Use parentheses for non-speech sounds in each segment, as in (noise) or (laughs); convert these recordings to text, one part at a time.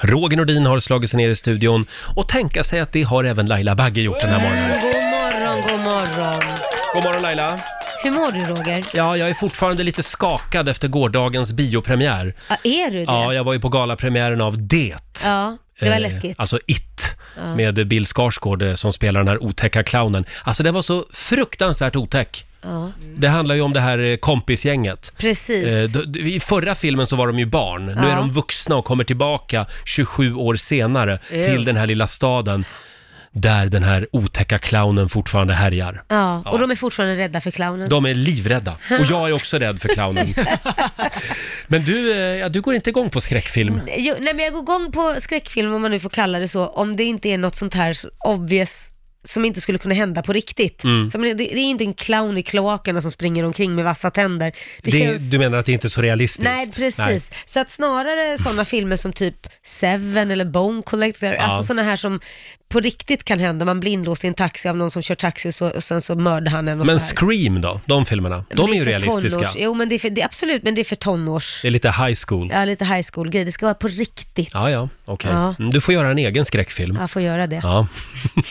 Roger Nordin har slagit sig ner i studion och tänka sig att det har även Laila Bagge gjort den här morgonen. God morgon, god morgon. God morgon Laila! Hur mår du Roger? Ja, jag är fortfarande lite skakad efter gårdagens biopremiär. Ja, är du det? Ja, jag var ju på galapremiären av Det. Ja, det var Eh, läskigt. Alltså It, med Bill Skarsgård eh, som spelar den här otäcka clownen. Alltså den var så fruktansvärt otäck. Ja, Det handlar ju om det här eh, kompisgänget. precis. Eh, d- d- I förra filmen så var de ju barn, nu Ja. är de vuxna och kommer tillbaka 27 år senare Ew. till den här lilla staden där den här otäcka clownen fortfarande härjar. ja, och ja. de är fortfarande rädda för clownen. De är livrädda och jag är också rädd för (laughs) clownen. Men du, eh, ja, du går inte igång på skräckfilm. Jo, nej, men jag går igång på skräckfilm, om man nu får kalla det så, om det inte är något sånt här s- obvious som inte skulle kunna hända på riktigt. Mm. Som, det, det är inte en clown i kloakerna som springer omkring med vassa tänder. Det Det känns... Du menar att det inte är så realistiskt? Nej, precis. Så att snarare sådana filmer som typ Seven eller Bone Collector, alltså sådana här som på riktigt kan hända. Man blir inlåst i en taxi av någon som kör taxi och, så, och sen så mördar han en och Men så här. Scream då, de filmerna, Men de det är ju för realistiska. Tonårs. Jo, men det är, för, det är absolut, men det är för tonårs. Det är lite high school. Ja, lite high school-grej. Det ska vara på riktigt. Ja, ja, okej. Ja. Mm, Du får göra en egen skräckfilm. Jag får göra det. Ja.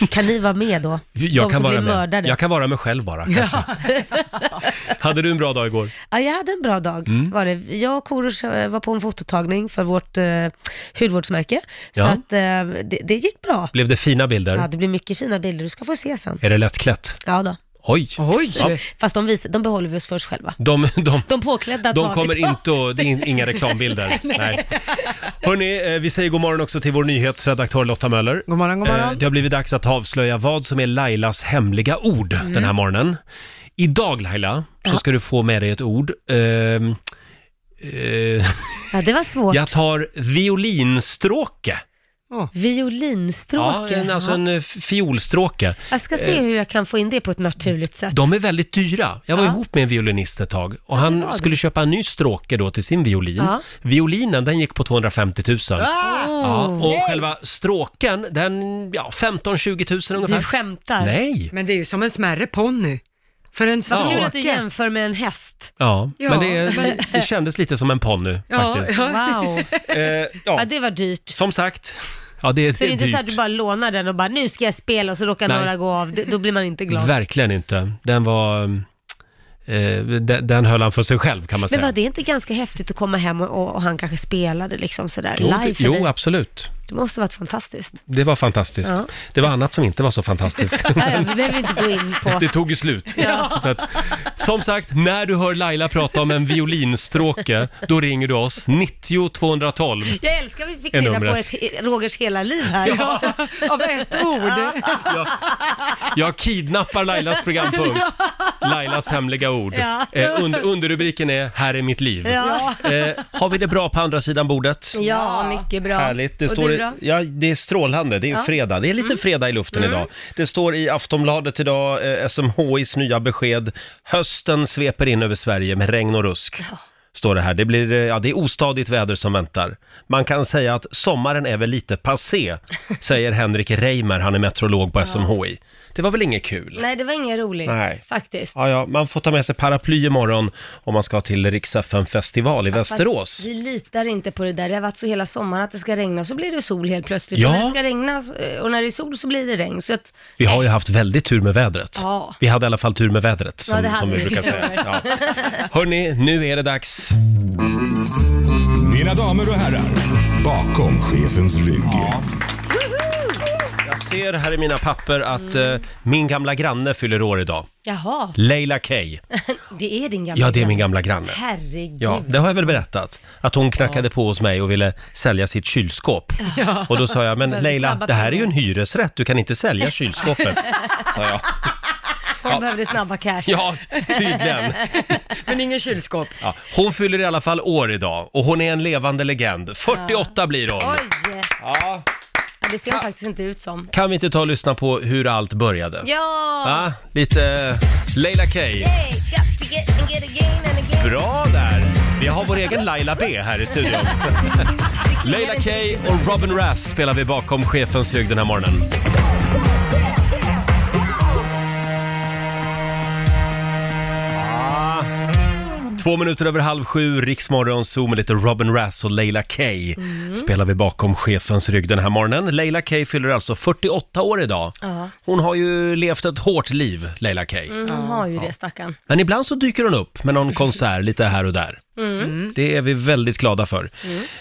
Kan ni vara med då? Jag kan De som vara blir med. mördade. Jag kan vara med själv (laughs) bara. kanske. Hade du en bra dag igår? Ja, jag hade en bra dag. Mm. Var det. Jag och Korosh eh, var på en fototagning för vårt eh, hudvårdsmärke. Så Ja. att, eh, det, det gick bra. Blev det fina bilder? Ja, det blir mycket fina bilder. Du ska få se sen. Är det lättklätt? Ja då. Oj! Oj! Ja. Fast de, visar, de behåller vi oss för oss själva. De, de, De påklädda tar de vi. kommer inte att... Det är in- inga (laughs) reklambilder. Nej. Hörni, eh, vi säger god morgon också till vår nyhetsredaktör Lotta Möller. God morgon, god Eh, morgon. Det har blivit dags att avslöja vad som är Lailas hemliga ord Mm. den här morgonen. Idag Laila, så ska du få med dig ett ord. Ehm, eh, Ja, det var svårt. jag tar violinstråke. Ja, Violinstråke. en, alltså en eh, fiolstråke. Jag ska se hur jag kan få in det på ett naturligt sätt. De är väldigt dyra. Jag var Ja. ihop med en violinist ett tag och var han det. skulle köpa en ny stråke då till sin violin. Ja. Violinen den gick på 250 000. Oh. Ah! Ja, och själva stråken den, ja 15-20 000 Du ungefär. skämtar. Nej! Men det är ju som en smärre ponny. För en Vad kul stråke. att du jämför med en häst. Ja, Ja, men det, men- det kändes lite som en ponny Ja, faktiskt. ja. (laughs) Wow. Eh, (laughs) Ja, ja, det var dyrt. som sagt. Ja, det, Så det är det inte så att du dyrt. bara lånar den och bara nu ska jag spela och så råkar Nej. några gå av. Det- Då blir man inte glad. Verkligen inte. Den var... Eh, den, den höll han för sig själv kan man Men säga. var det inte ganska häftigt att komma hem och, och, och han kanske spelade liksom sådär Jo, live det, för jo, dig? absolut. Det måste varit fantastiskt. Det var fantastiskt. Ja. Det var annat som inte var så (laughs) fantastiskt. Ja, ja, vi behöver inte gå in (laughs) på... Det tog ju slut. Ja. Så att, som sagt, när du hör Laila prata om en violinstråke, då ringer du oss. 90 212. Jag älskar att vi fick Är reda på numret. ett, Rogers hela liv (laughs) här. Av ett ord. Jag kidnappar Lailas programpunkt. Lailas hemliga ord. Ja. Eh, und- underrubriken är “Här är mitt liv”. Ja. Eh, har vi det bra på andra sidan bordet? Ja, mycket bra. Härligt. Det, Och står du i, då? Mm. ja, det är strålande, det är fredag. Det är lite fredag i luften idag. Det står i Aftonbladet idag, eh, SMHIs nya besked. Hösten sveper in över Sverige med regn och rusk. Står det här. Det, blir, eh, ja, det är ostadigt väder som väntar. Man kan säga att sommaren är väl lite (laughs) passé, säger Henrik Reimer, han är meteorolog på SMHI. Det var väl inget kul? Nej, det var inget roligt Nej. faktiskt. Ja, ja, man får ta med sig paraply imorgon om man ska till riks festival i Västerås. Fast Vi litar inte på det där. Det har varit så hela sommaren att det ska regna och så blir det sol helt plötsligt. Ja. Och när det ska regna eh, och när det är sol så blir det regn. Så att, Vi har ju haft väldigt tur med vädret. Ja. Vi hade i alla fall tur med vädret, Ja, som, det hade som vi vi. brukar (laughs) säga. Ja. Hörni, nu är det dags. Mina damer och herrar, bakom chefens rygg. Jag ser här i mina papper att Mm. eh, min gamla granne fyller år idag. jaha, Leila K. (laughs) det är din gamla Ja, det är min granne. gamla granne. Herregud. Ja, det har jag väl berättat. Att hon knackade på hos mig och ville sälja sitt kylskåp. Och då sa jag, men Behöver Leila, snabba det här är ju pengar." en hyresrätt, du kan inte sälja (laughs) kylskåpet. Sa jag. Hon behövde snabba cash. (laughs) Ja, tydligen. Men ingen kylskåp. Ja, hon fyller i alla fall år idag och hon är en levande legend. 48 blir hon. Oj! Ja, det ser hon faktiskt inte ut som. Kan vi inte ta och lyssna på hur allt började? Ja! Va? Lite Leila K. Hey, got to get and get again and again. Bra där! Vi har vår egen Laila B här i studion. Leila K och Robin Rass spelar vi bakom chefens rygg den här morgonen. Ah. Två minuter över halv sju, Riksmorgon Zoo med lite Robin Rass och Leila Kay spelar vi bakom chefens rygg den här morgonen. Leila Kay fyller alltså 48 år idag. Ja. Hon har ju levt ett hårt liv, Leila Kay. Mm, hon har ju det stackarn. Men ibland så dyker hon upp med (laughs) någon konsert lite här och där. Mm. Det är vi väldigt glada för.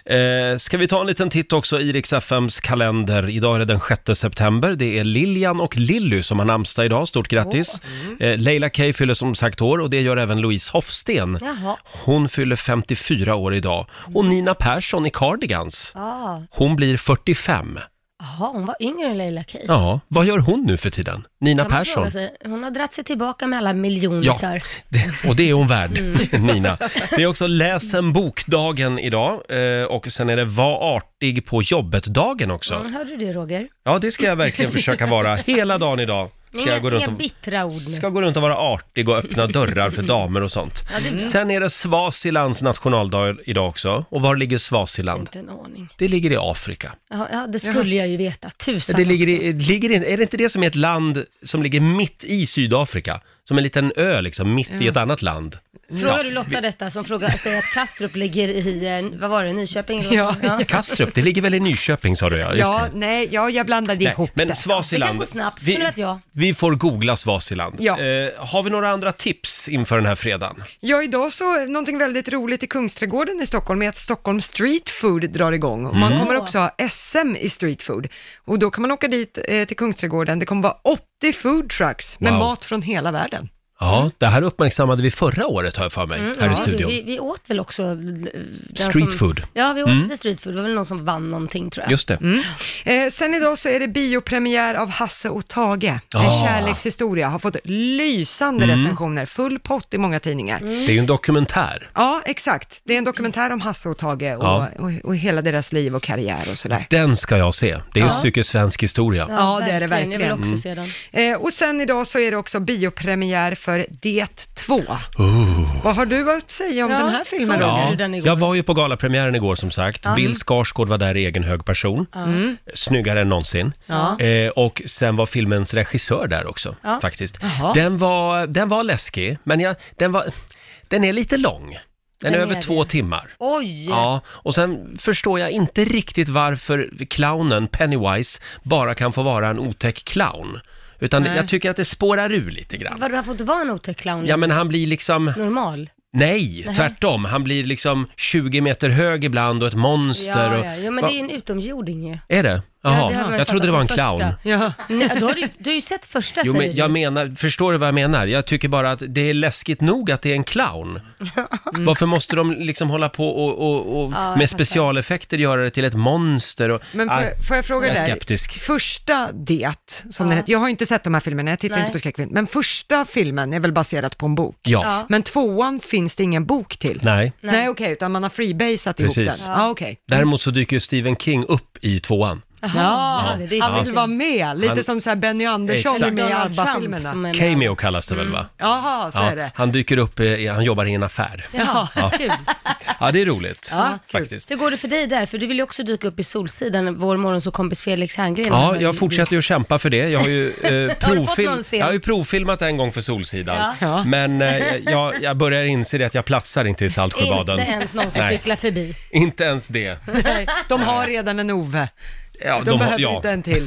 Eh, ska vi ta en liten titt också i Rix FMs kalender. Idag är det den 6 september. Det är Lilian och Lilly som har namnsdag idag. Stort grattis! Mm. Eh, Leila Kay fyller som sagt år och det gör även Louise Hofsten. Jaha. Hon fyller 54 år idag. Och Nina Persson i Cardigans. Ah. Hon blir 45. Jaha, hon var yngre än Leila Kay. Ja, vad gör hon nu för tiden? Nina Kan man fråga Persson. sig. Hon har dratt sig tillbaka med alla miljonisar. Det, och det är hon värd, Mm. (laughs) Nina. Det är också läs en bokdagen idag eh, och sen är det var artig på jobbet-dagen också. Mm, hörde du det Roger? Ja, det ska jag verkligen försöka (laughs) vara hela dagen idag. Ska Inga, jag gå runt inga och, bittra ord nu. ska gå runt och vara artig och öppna dörrar för damer och sånt. Ja, det är Sen är det Swazilands nationaldag idag också. Och var ligger Swaziland? inte en aning. Det ligger i Afrika. Ja, ja det skulle jag ju veta. Tusan Det ligger också. i, ligger i, är det inte det som är ett land som ligger mitt i Sydafrika? Som en liten ö liksom, mitt Mm. i ett annat land. Frågar du Lotta detta som frågar, säger att Kastrup ligger i, eh, vad var det, Nyköping? Eller (laughs) Ja. något sånt? ja. Kastrup, det ligger väl i Nyköping sa du ja? Just Ja, det. nej, ja, jag blandade Nej, ihop men det. Swaziland. Det kan gå snabbt, vi, skulle att jag. vi får googla Swaziland. Ja. Eh, har vi några andra tips inför den här fredagen? Ja, idag så, någonting väldigt roligt i Kungsträdgården i Stockholm är att Stockholm Street Food drar igång. Och Mm. Man kommer också ha SM i street food. Och då kan man åka dit eh, till Kungsträdgården, det kommer vara 80 food trucks med Wow. mat från hela världen. Ja, det här uppmärksammade vi förra året har jag för mig, här i Mm, Ja, studion. Vi, vi åt väl också... eh, den Street som, food. Mm. Ja, vi åt lite street food. Det var väl någon som vann någonting tror jag. Mm. Just det. Eh, sen idag så är det biopremiär av Hasse och Tage. En Ah. Mm. kärlekshistoria har fått lysande recensioner, full pott i många tidningar. Det är ju en dokumentär. Ja, exakt. Det är en dokumentär om Hasse och Tage och, Ja. och, och hela deras liv och karriär och sådär. Den ska jag se. Det är ett stycke svensk historia. Ja, det är det Jag vill verkligen. också se Mm. den. Eh, och sen idag så är det också biopremiär för Det 2. Vad har du att säga om Ja, den här filmen så- då? Såg du den igår? jag var ju på galapremiären igår som sagt. Mm. Bill Skarsgård var där i egen hög person. Snyggare än någonsin. Ja. Eh, och sen var filmens regissör där också, Ja. faktiskt. Jaha. Den var, den var läskig, men jag, den, var, den är lite lång. Den, är Den över är två det. timmar. Oj! Ja, och sen förstår jag inte riktigt varför clownen Pennywise bara kan få vara en otäck clown. Utan jag tycker att det spårar ur lite grann. Vad du har fått vara en otäck clown? Ja, men han blir liksom... Normal? Nej, tvärtom. Han blir liksom 20 meter hög ibland och ett monster. Ja, och... ja. Jo, men Va- det är ju en utomjording ju. Är det? Ja, Jaha, det har man jag trodde det var en fattat från clown. första. Ja. Nej, då har du, du har ju sett första Jo, säger men du. jag menar, förstår du vad jag menar? Jag tycker bara att det är läskigt nog att det är en (laughs) clown. Varför måste de liksom hålla på och, och, och Ja, jag fattar. med specialeffekter göra det till ett monster? Och, Men Ah, får, får jag fråga jag är dig? skeptisk. Första Det, som Ja. den heter. Jag har inte sett de här filmerna, jag tittar Nej. inte på skräckfilm. Men första filmen är väl baserat på en bok? Ja. Ja. Men tvåan finns det ingen bok till? Nej. Nej, okej, utan man har freebasat ihop den. Precis. Ja, ah, okej. Däremot så dyker ju Stephen King upp i tvåan. Jaha, det är det. Han vill vara med, lite Han- som så här Benny Andersson Exakt. är med i Donald Trump ABBA-filmerna. som är med. Cameo kallas det Mm. väl va? Jaha, så är det. han dyker upp, i, han jobbar i en affär. Jaha, kul. Ja, det är roligt. Ja, faktiskt. Hur går det för dig där? För du vill ju också dyka upp i Solsidan, vår morgonsåkompis Felix Herngren. Ja, jag fortsätter ju att kämpa för det. Jag har ju, (laughs) eh, fått provfil- någon scen? jag har ju provfilmat en gång för Solsidan. Ja. Ja. Men eh, jag, jag börjar inse det att jag platsar inte i Inte Saltsjöbaden. ens någon som Nej. cyklar förbi. Inte ens det. Nej, de har redan en Ove. Ja, De, de har- behöver ja. inte (laughs) en till.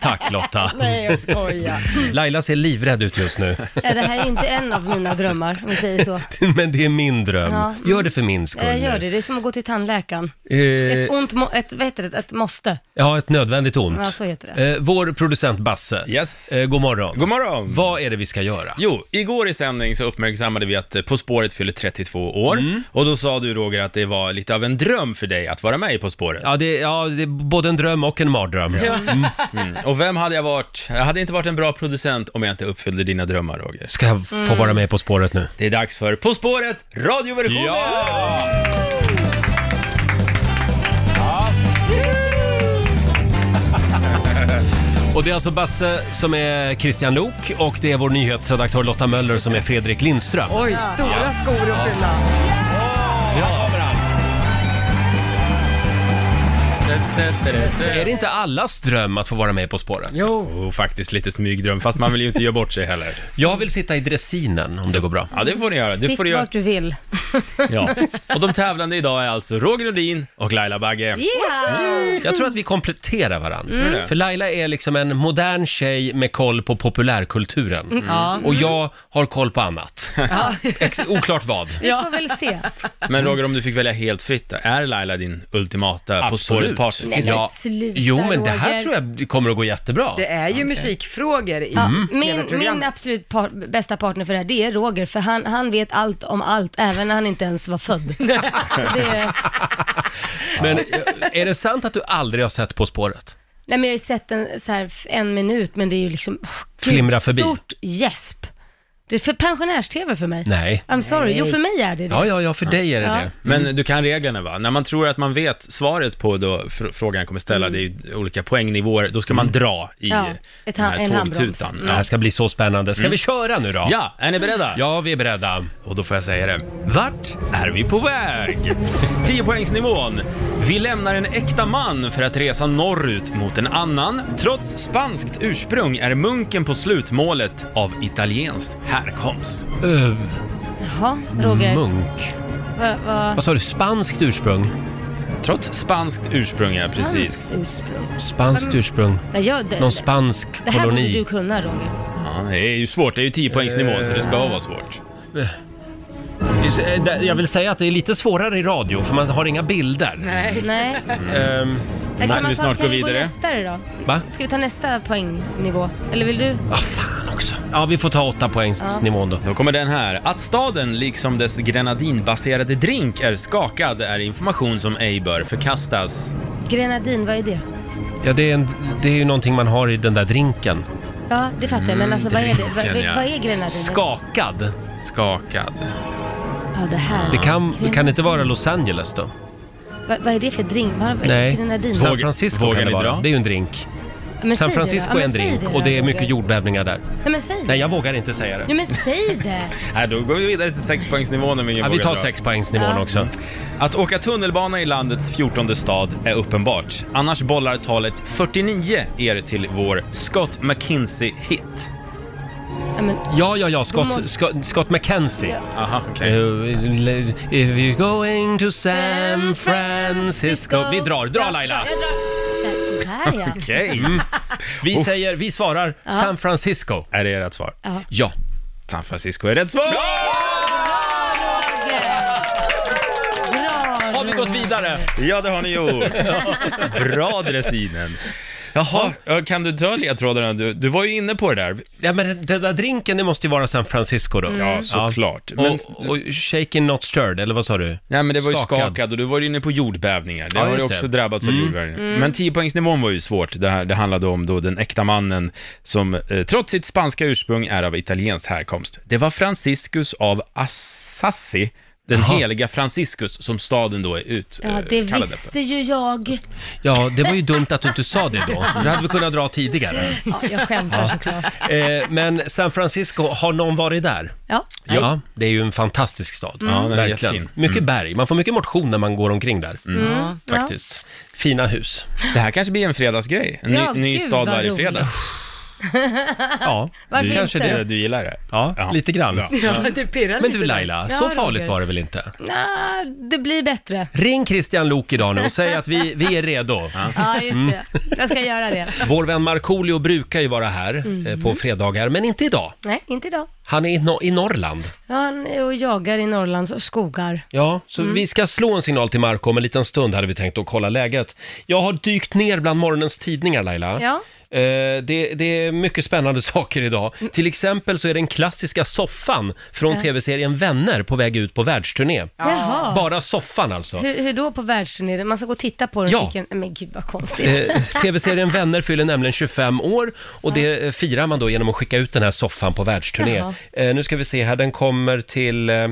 Tack Lotta. (laughs) Nej, jag skojar. Laila ser livrädd ut just nu. (laughs) Ja, Det här är inte en av mina drömmar, om vi säger så. Men det är min dröm. Ja. Gör det för min skull Jag gör nu. det. Det är som att gå till tandläkaren. Ett Eh, ont, må- ett, vad heter det, ett måste. ja, ett nödvändigt ont. Ja, så heter det. Eh, vår producent Basse. Yes. Eh, god morgon. God morgon! Vad är det vi ska göra? Jo, igår i sändning så uppmärksammade vi att eh, På spåret fyller 32 år och då sa du Roger att det var lite av en dröm för dig att vara med i På spåret. Ja, det, ja, det är både en dröm och en mardröm. Mm. Och vem hade jag varit? Jag hade inte varit en bra producent om jag inte uppfyllde dina drömmar Roger. Ska jag få vara med På spåret nu? Det är dags för På spåret radioversionen! Och det är alltså Basse som är Christian Lok och det är vår nyhetsredaktör Lotta Möller som är Fredrik Lindström. Oj, stora skor att fylla. Ja, Den Är det inte allas dröm att få vara med På spåret? Jo. Och Oh, faktiskt lite smygdröm, fast man vill ju inte göra bort sig heller. Jag vill sitta i dressinen om det går bra. Ja, det får ni göra. Det Sitt får ni göra. vart du (laughs) vill. Ja. Och de tävlande idag är alltså Roger Nordin och Laila Bagge. Yeah! Jag tror att vi kompletterar varandra. Mm. Tror du det? För Laila är liksom en modern tjej med koll på populärkulturen. Mm. Ja. Och jag har koll på annat. Ex- oklart vad. Vi får väl se. Men Roger, om du fick välja helt fritt, då, är Laila din ultimata På Absolut. spåret-partner? Finns det- Ja. sluta, Jo, men det här Roger. tror jag kommer att gå jättebra. Det är ju musikfrågor i Mm. Min, min tv-programmet. absolut par, bästa partner för det här, det är Roger, för han, han vet allt om allt, även när han inte ens var född. Så det, Men eh, är det sant att du aldrig har sett På spåret? nej men jag har ju sett en, så här, en minut, men det är ju liksom... åh, gud, Flimra förbi. Stort gäsp. Det är för pensionärs-tv för mig. Nej. I'm sorry, jo för mig är det det. Ja, ja, ja, för dig är det Ja. det. Mm. Men du kan reglerna va? När man tror att man vet svaret på då fr- frågan kommer ställa, det är ju olika poängnivåer, då ska man Mm. dra i Mm. Ja, den ett ha- här en handbroms. tågtutan. Det här Ja. ska bli så spännande. Ska vi köra nu då? ja, är ni beredda? Ja, vi är beredda. Och då får jag säga det. Vart är vi (laughs) på väg? 10 poängsnivån. Vi lämnar en äkta man för att resa norrut mot en annan. Trots spanskt ursprung är munken på slutmålet av italiensk härkomst. Öh, Jaha, Roger. munk. Va, va, Vad sa du? Spanskt ursprung? Trots spanskt ursprung, ja precis. Hans ursprung. Spanskt ursprung. Nej, jag, det, Någon spansk det här borde koloni. du kunna Roger. Ja, det är ju svårt, det är ju 10 poängsnivån så det ska Eh. vara svårt. Visst, eh, där- Jag vill säga att det är lite svårare i radio för man har inga bilder. Nej. Ehm, Där kan Måste man vi ta- snart gå Kan vi gå vidare? nästa då? va? Ska vi ta nästa poängnivå? Eller vill du? Ah, fan också. Ja, vi får ta åtta poängsnivån då. Då kommer den här. Att staden, liksom dess grenadinbaserade drink, är skakad är information som ej bör förkastas. Grenadin, vad är det? Ja, det är, en, det är ju någonting man har i den där drinken. Ja, det fattar jag, Mm, men alltså vad är det? Vad, drinken, ja. vad, vad är grenadin? Skakad. Skakad. Ja, det här. Det kan, Grenadin. kan det inte vara Los Angeles då? Vad, vad är det för drink? Vad, vad- Grenadin? San Vågar- Francisco vågar kan det ni vara. dra? Det är ju en drink. Men säg San det då. Ja, Francisco är men en säg drink då, och det är Roger. mycket jordbävningar där. Nej, men säg det. Nej, jag vågar inte säga det. Nej, men säg det. Nej, Äh, då går vi vidare till sexpoängsnivån om ingen Ja, vi vågar tar dra. sexpoängsnivån Ja. också. Att åka tunnelbana i landets 14 stad är uppenbart. Annars bollar talet 49 er till vår Scott McKinsey-hit. Nej, men, Ja, ja, ja, Scott, Då måste- Scott, Scott McKenzie. Aha, okej. Uh, If you're going to San Francisco. Vi drar, dra Ja, Laila! jag drar. Nej, Så här (laughs) ja. Okej. Mm. Vi Oh. säger, vi svarar San Francisco. Är det ert svar? Ja. San Francisco är rätt svar! Har vi gått vidare? Ja, det har ni (laughs) gjort. Bra dressinen. Jaha, ja, kan du dra ledtrådarna? Du, du var ju inne på det där. Ja, men den- den där drinken, det måste ju vara San Francisco då. Ja, såklart. Men... Men- Och, och shaken not stirred, eller vad sa du? Nej, men det var ju Skakad. skakad, och du var ju inne på jordbävningar. Det Ja, har ju just också det. Mm. drabbats av jordbävningar. Men 10-poängsnivån var ju svårt. Det, här, det handlade om då den äkta mannen som eh, trots sitt spanska ursprung är av italiensk härkomst. Det var Franciscus av Assisi, den heliga Franciscus, som staden då är ut Ja, eh, det kallade visste ju jag. Ja, det var ju dumt att du inte sa det då. Det hade vi kunnat dra tidigare. Ja, jag skämtar såklart. Eh, men San Francisco, har någon varit där? Ja. Ja, det är ju en fantastisk stad. Ja, den är Verkligen. jättefin. Mycket berg. Man får mycket motion när man går omkring där. Mm. Ja. Faktiskt. Fina (laughs) hus. På. Det här kanske blir en fredagsgrej. En ny, Ja, ny gud, stad vad varje roligt. fredag. Ja, Varför kanske inte? det. Du, du gillar det? Ja, lite grann. Ja, det pirrar Men du lite där. Laila, Ja, så Roger. farligt var det väl inte? Nja, det blir bättre. Ring Christian Lok idag nu och säg att vi, vi är redo. Ja, just Mm. det. Jag ska göra det. Vår vän Markoolio brukar ju vara här Mm. eh, på fredagar, men inte idag. Nej, inte idag. Han är i, no- i Norrland. Ja, Han är och jagar i Norrlands skogar. Ja, så vi ska slå en signal till Marco om en liten stund hade vi tänkt att kolla läget. Jag har dykt ner bland morgonens tidningar Laila. Ja. Eh, det, det är mycket spännande (laughs) saker idag. Till exempel så är den klassiska soffan från tv-serien Vänner på väg ut på världsturné. Jaha. Bara soffan alltså. Hur, hur då på världsturné? Man ska gå och titta på den? Ja. Ja. En... Nej, Men gud vad konstigt. Eh, TV-serien Vänner fyller nämligen 25 år och det eh, firar man då genom att skicka ut den här soffan på världsturné. Jaha. Eh, nu ska vi se här, den kommer till eh,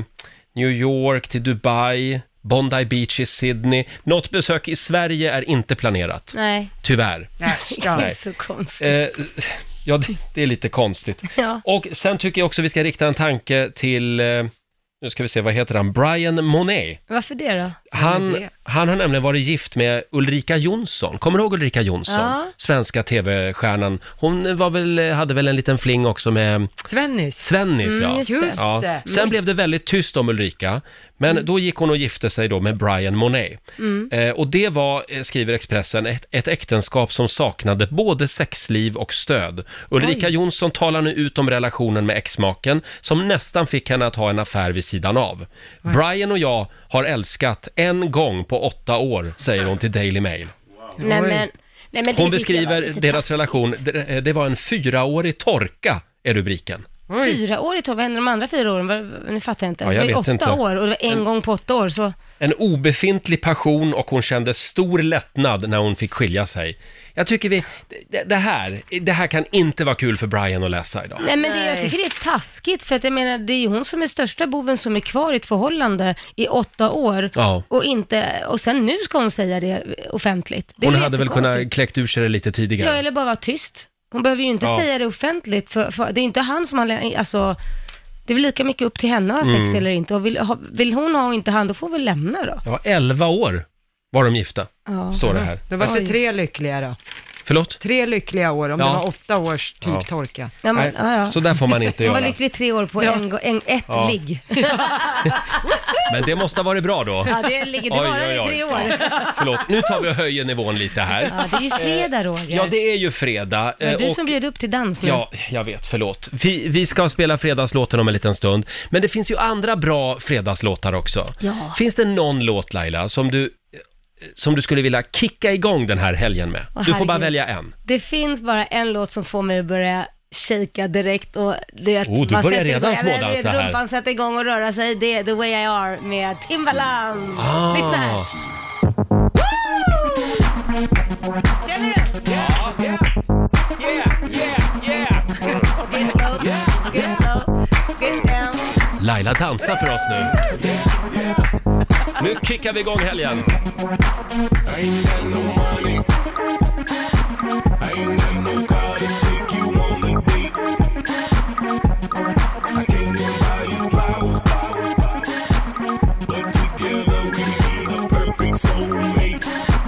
New York, till Dubai, Bondi Beach i Sydney. Något besök i Sverige är inte planerat, Nej, tyvärr. Äsch, det ja. är så konstigt. Eh, ja, det, det är lite konstigt. (laughs) Ja. Och sen tycker jag också vi ska rikta en tanke till, eh, nu ska vi se, vad heter han, Brian Monet. Varför det då? Han, det? han har nämligen varit gift med Ulrika Jonsson. Kommer du ihåg Ulrika Jonsson? Ja. Svenska tv-stjärnan. Hon var väl, hade väl en liten fling också med Svennis. Svennis. ja. just Mm. Just Ja. det. Sen blev det väldigt tyst om Ulrika, men då gick hon och gifte sig då med Brian Monet. Mm. Eh, och det var, eh, skriver Expressen, ett, ett äktenskap som saknade både sexliv och stöd. Ulrika Jonsson talar nu ut om relationen med exmaken som nästan fick henne att ha en affär vid sidan av. Brian och jag har älskat en gång på åtta år, säger hon till Daily Mail. Nej, men, nej, men det Hon tycker jag beskriver var lite deras taskigt. relation, det, det var en fyraårig torka, är rubriken. Fyra år i topp, vad hände de andra fyra åren? Vad- Nu fattar jag inte. Ja, jag det vet var ju åtta inte. Eh. år och det var en gång på åtta år så... En obefintlig passion och hon kände stor lättnad när hon fick skilja sig. Jag tycker vi, det, det här, det här kan inte vara kul för Brian att läsa idag. Nej men det, jag tycker det är taskigt för att jag menar det är ju hon som är största boven som är kvar i ett förhållande i åtta år Ja. och inte, och sen nu ska hon säga det offentligt. Det Hon är hade väl jättekonstigt. kunnat kläckt ur sig det lite Ja tidigare. eller bara vara tyst. Hon behöver ju inte Ja. säga det offentligt för, för det är inte han som har, lä- alltså det är väl lika mycket upp till henne att ha Mm. sex eller inte och vill, ha, vill hon ha och inte han då får väl lämna då. Ja, 11 år var de gifta, Ja. står det här. Det var för tre lyckliga då. Förlåt? Tre lyckliga år om Ja. det var åtta års typ Ja. torka. Ja, men, Nej, ja, ja. Så där får man inte (laughs) Hon var göra. lycklig i tre år på en, gå- en, ett Ja. ligg. Men det måste ha varit bra då. Ja, det ligger, det Oj, varade oj, i oj. tre år. Eh, Ja. Ja, förlåt, nu tar vi och höjer nivån lite (laughs) här. det är ju fredag Roger. Ja, det är ju fredag. Det var eh, du och- som bjöd upp till dans nu. Ja, jag vet, förlåt. Vi, vi ska spela fredagslåten om en liten stund. Men det finns ju andra bra fredagslåtar också. Ja. Finns det någon låt, Laila, som du, som du skulle vilja kicka igång den här helgen med? Åh, du får bara herregud. välja en. Det finns bara en låt som får mig att börja shakea direkt och du vet, Oh, du man börjar sätter redan igång- ja, men du smådansa vet, här. Rumpan sätter igång och röra sig, det är The Way I Are med Timbaland. Ah. Lyssna här. Känner du? Get low, get low, get down. Laila dansa för oss nu. Nu kickar vi igång helgen.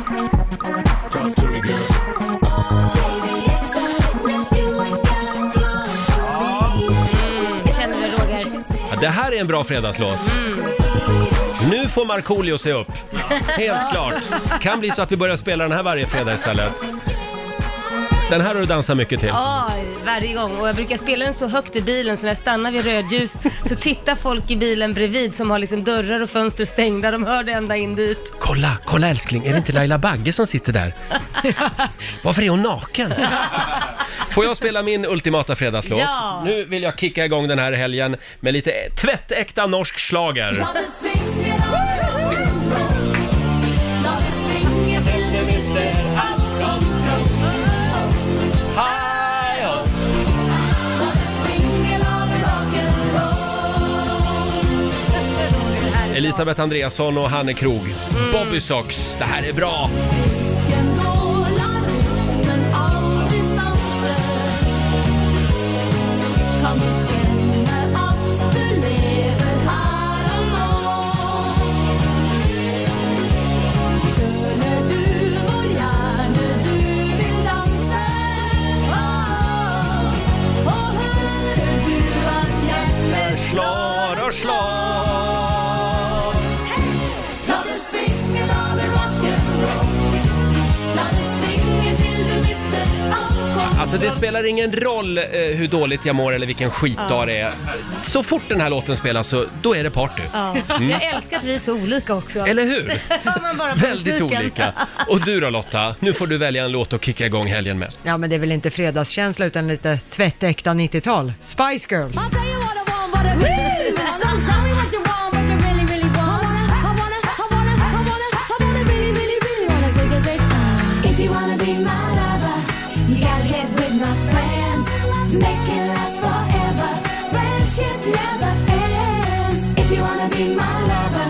Talk to me, girl. Känner du Roger? Ja, det här är en bra fredagslåt. Mm. Nu får Markoolio se upp. (laughs) Helt klart. Kan bli så att vi börjar spela den här varje fredag istället. Den här har du dansat mycket till. Ja, varje gång. Och jag brukar spela den så högt i bilen så när jag stannar vid rödljus så tittar folk i bilen bredvid som har liksom dörrar och fönster stängda. De hör det ända in dit. Kolla, kolla älskling, är det inte Laila Bagge som sitter (laughs) där? Varför är hon naken? Får jag spela min ultimata fredagslåt? Ja. Nu vill jag kicka igång den här helgen med lite tvättäkta norsk schlager. Elisabeth Andreasson och Hanne Krog. Bobby Socks, det här är bra! Ah, Slår och slår! La det svinge, la det rock'n'roll La det svinge til du mister all kontroll Alltså det spelar ingen roll eh, hur dåligt jag mår eller vilken skitdag det är. Så fort den här låten spelas så, då är det party. Ja. Mm. Jag älskar att vi är så olika också. (laughs) Eller hur? Man bara på Väldigt musiken. olika. Och du då Lotta, nu får du välja en låt att kicka igång helgen med. Ja, men det är väl inte fredagskänsla utan lite tvättäkta 90-tal. Spice Girls. I'll tell you what I want, what I really want Don't tell me what you want, what you really, really want I wanna, I wanna, I wanna, I wanna, I wanna really, really, really wanna take a sit down uh. If you wanna be my lover You gotta get with my friends Make it last forever Friendship never ends If you wanna be my lover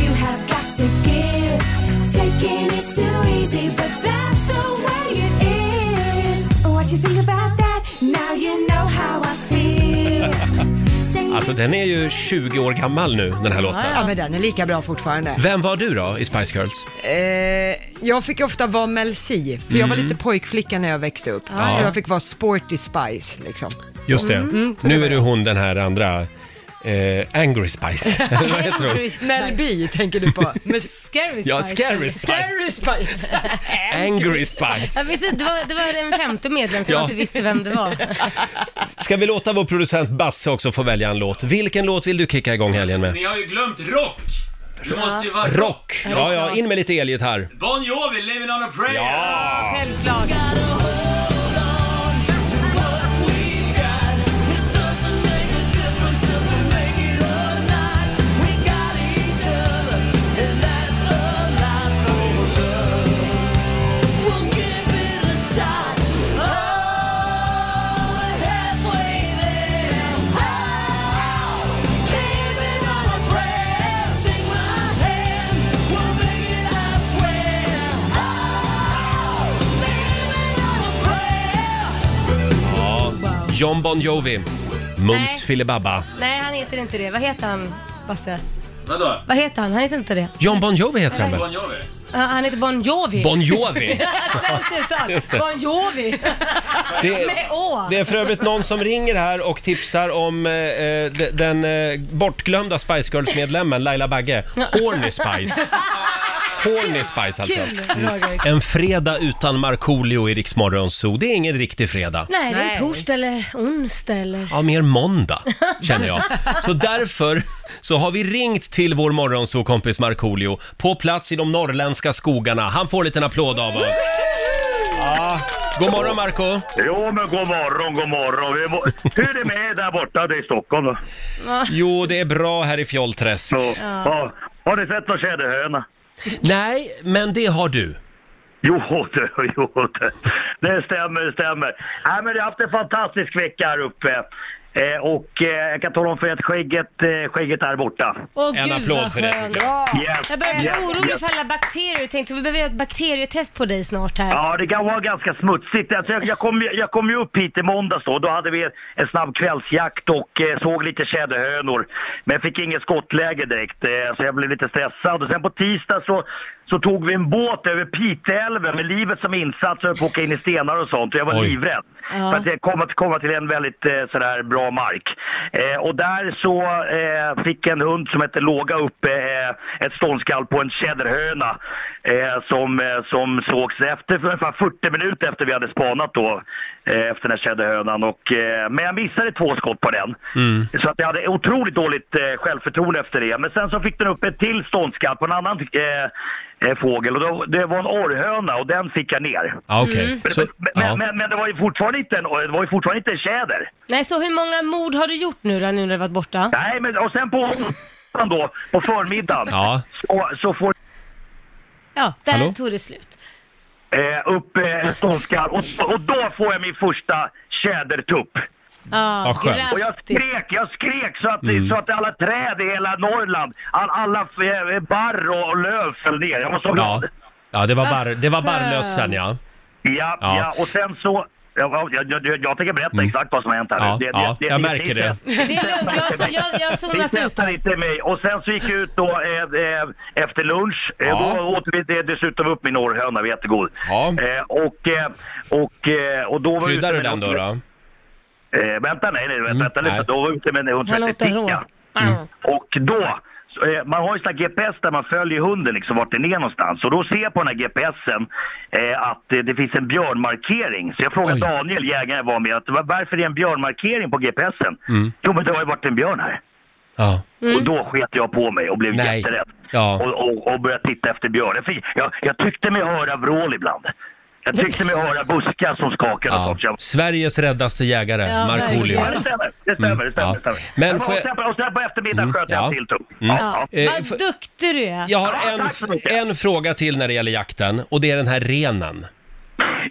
You have got to give Taking is too easy But that's the way it is What you think about that? Now you know how I feel Alltså Alltså den är ju 20 år gammal nu, den här låten. Ja, men den är lika bra fortfarande. Vem var du då i Spice Girls? Eh, jag fick ofta vara Mel C, för jag var lite pojkflicka när jag växte upp. Så jag fick vara sporty spice liksom. Just det. nu är du hon den här andra, eh, Angry Spice. Eller Vad heter hon? Mel B tänker du på. (laughs) (laughs) Men Scary Spice. Ja, Scary Spice. scary (laughs) spice! Angry Spice. Ja, precis, det, var, det var en femte medlem som Ja. inte visste vem det var. Ska vi låta vår producent Basse också få välja en låt? Vilken låt vill du kicka igång helgen med? Ni har ju glömt rock! Du måste ju vara Rock! Ja, ja, in med lite elgitarr. Bon Jovi, Living on a prayer! Självklart. John Bon Jovi. Mums Nej. filibabba. Nej, han heter inte det. Vad heter han, Basse? Vadå? Vad heter han? Han heter inte det. John Bon Jovi heter han väl? Bon Jovi? Ja, han heter Bon Jovi. Bon Jovi! (laughs) Svenskt Just det. uttal. Bon Jovi. Det, Med å. det är för övrigt någon som ringer här och tipsar om eh, eh, de- den eh, bortglömda Spice Girls-medlemmen Laila Bagge. Horny Spice. Horny Spice alltså. Kul, Roger. En fredag utan Markoolio i Rix Morgon Zoo, det är ingen riktig fredag. Nej, det Nej. är torsdag eller onsdag eller... Ja, mer måndag, känner jag. Så därför så har vi ringt till vår morgonsåkompis Markoolio på plats i de norrländska skogarna. Han får en liten applåd av oss. Ja. God morgon Marco Jo, men god morgon, god morgon. Vi må... Hur är det med er där borta det är i Stockholm? då? Jo, det är bra här i Fjollträsk. Så, ja. Har ni sett någon tjäderhöna? Nej, men det har du. Jo, du, jo, du. det stämmer, det stämmer. Nej, men jag har haft en fantastisk vecka här uppe. Eh, och eh, jag kan tala om för er att skägget, eh, skägget är borta. Åh, En gud, applåd vad för det, skönt. tycker jag. Yes, Jag börjar bli yes, orolig yes. för alla bakterier och tänkte så vi behöver göra ett bakterietest på dig snart här. Ja, det kan vara ganska smutsigt. Alltså, jag, jag, kom, ju- jag kom ju upp hit i måndags då. Då hade vi en snabb kvällsjakt och eh, såg lite tjäderhönor. Men jag fick inget skottläge direkt, eh, så jag blev lite stressad. Och sen på tisdag så, så tog vi en båt över Piteälven med livet som insats. och på att åka in i stenar och sånt. Och jag var Oj. livrädd. Ja. För att jag kom att komma till en väldigt eh, sådär bra mark. Eh, och där så eh, fick en hund som hette Låga upp eh, ett ståndskall på en tjäderhöna eh, som, eh, som sågs efter för ungefär 40 minuter efter vi hade spanat då eh, efter den här tjäderhönan. Och, eh, men jag missade två skott på den. Så att jag hade otroligt dåligt eh, självförtroende efter det. Men sen så fick den upp ett till ståndskall på en annan eh, eh, fågel och då, det var en orrhöna och den fick jag ner. Ja, okej. Mm. Men, Så, men, ja. men, men det var ju fortfarande inte en, det var ju fortfarande inte en tjäder. Nej, så hur många mord har du gjort nu då, nu när du varit borta? Nej, men och sen på onsdagen då, på förmiddagen, Ja. så, så får Ja, där Hallå? Mm. tog det slut. eh, upp eh, en ståndskall och, och då får jag min första tjädertupp. Ja, Vad skönt. Och jag grattis. skrek, jag skrek så att, Mm. så att alla träd i hela Norrland, all, alla eh, barr och, och löv föll ner. Jag var så Ja. glad. ja, det var, bar, det var Ah, skönt. barrlössen ja. Ja, Ja. Mm. ja. och sen så, ja, jag, jag, jag, jag tänker berätta exakt vad som har hänt här Ja, nu. ja, jag ni- märker ni- det. Det är lugnt, jag har så- jag- jag har zonat Ni ut testade inte mig. Och sen så gick jag ut då eh, eh, efter lunch. Eh, Ja. Då åt vi det- dessutom upp min orrhöna, var jättegod. Ja. Eh, och, eh, och, eh, och då var jag Kryddar ute du med den då? någon- då? Eh, vänta, nej, nej, vänta, vänta nej. Mm. lite. Då var jag ute med en hund Han som låter hette rå. Picka. Och då, så, eh, man har ju sån här GPS där man följer hunden liksom vart den är någonstans. Och då ser jag på den här GPSen eh, att eh, det finns en björnmarkering. Så jag frågar Oj. Daniel, jägaren jag var med, att, "Va- varför är det en björnmarkering på GPSen? Mm. Jo men det har ju varit en björn här. Ja. Och då sket jag på mig och blev Mm. Nej. jätterädd. Ja. Och, och, och började titta efter björn. Jag, fick- jag, jag tyckte mig höra vrål ibland. Jag tyckte mig höra buskar som skakade och ja. sånt. Så jag- Sveriges räddaste jägare, Ja, Markoolio. Ja, det stämmer. Det stämmer. Mm, det stämmer, ja. det stämmer. Men och, får jag- sen, på- och sen på eftermiddagen Mm, sköt jag ja. en till tupp. Mm. Ja, ja. Eh, f- Vad duktig du är. Jag har Ja, en, tack så mycket. en fråga till när det gäller jakten och det är den här renen.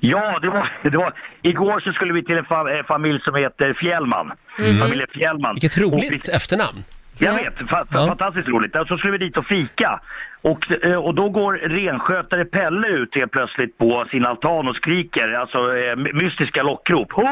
ja det, var, det var... Igår så skulle vi till en fa- eh, familj som heter Fjällman. Familjen Fjällman. Mm. Vilket Och roligt vi- efternamn. Jag vet, fa- fa- Ja. fantastiskt roligt. Och Så skulle vi dit och fika. Och, eh, och då går renskötare Pelle ut helt plötsligt på sin altan och skriker, alltså eh, mystiska lockrop. Ho!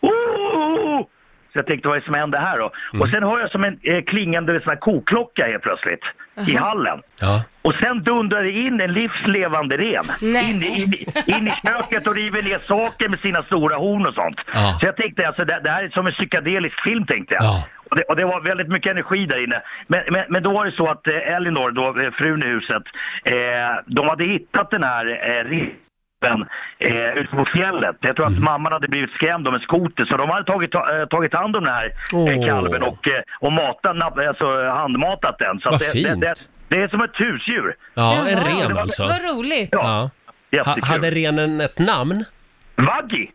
Ho! Så jag tänkte vad är det som händer här då? Och sen hör jag som en eh, klingande sån här koklocka helt plötsligt i hallen. Ja. Och sen dundrar det in en livslevande ren. Nej. In, i- in, i- in i köket och river ner saker med sina stora horn och sånt. Ja. Så jag tänkte alltså det, det här är som en psykedelisk film tänkte jag. Ja. Och det, och det var väldigt mycket energi där inne. Men, men, men då var det så att eh, Elinor, då, eh, frun i huset, eh, de hade hittat den här eh, rippen eh, ute på fjället. Jag tror att Mm. mamman hade blivit skrämd av en skoter så de hade tagit, ta, eh, tagit hand om den här Åh. eh, kalven och, eh, och matat, napp- alltså, handmatat den. Så Vad att det, det, fint. det, det är som ett husdjur. Ja, en Jaha. ren alltså. Vad roligt. Ja. Ha, Jättekul. hade renen ett namn? Vaggi!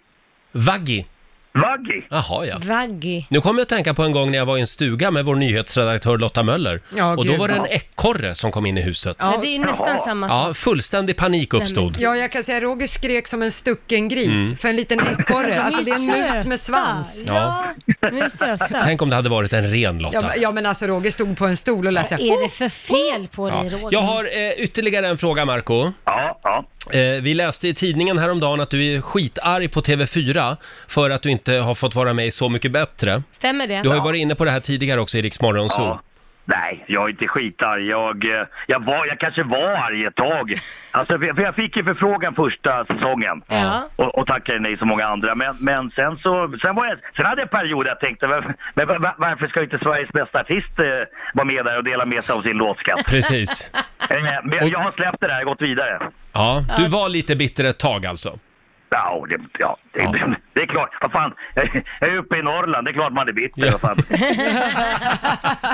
Vaggi. Vaggi! Jaha, ja. Vaggi. Nu kommer jag att tänka på en gång när jag var i en stuga med vår nyhetsredaktör Lotta Möller. Ja, och då gud, var det en ja. ekorre som kom in i huset. Ja, det är ju nästan Jaha. samma sak. Ja, fullständig panik uppstod. Ja, jag kan säga Roger skrek som en stucken gris för en liten (laughs) ekorre. Alltså det är en mus med svans. Ja. Ja, de är söta. Tänk om det hade varit en ren Ja, Lotta. men- ja, men alltså Roger stod på en stol och lät Vad såhär, är det för fel på dig, Roger? Jag har eh, ytterligare en fråga, Marco. Ja, ja. Eh, vi läste i tidningen häromdagen att du är skitarg på TV4 för att du inte har fått vara med i Så mycket bättre. Stämmer det? Du har ju varit inne på det här tidigare också i Rix Morgon Zoo. Ja. Nej, jag är inte skitarg. Jag, eh, jag, var, jag kanske var arg ett tag. Alltså, för, för jag fick ju förfrågan första säsongen. Ja. Och, och tackade nej som många andra. Men, men sen så, sen, var jag, sen hade jag en period där jag tänkte, varför, men var- varför ska inte Sveriges bästa artist eh, vara med där och dela med sig av sin (laughs) låtskatt? Precis. Eh, men jag har släppt det där, jag har gått vidare. Ja, du var lite bitter ett tag alltså. Ja, det, ja, det, Ja. (laughs) Det, är klart. Vad fan, jag är uppe i Norrland. Det är klart man är bitter. Ja. Vad fan. (laughs)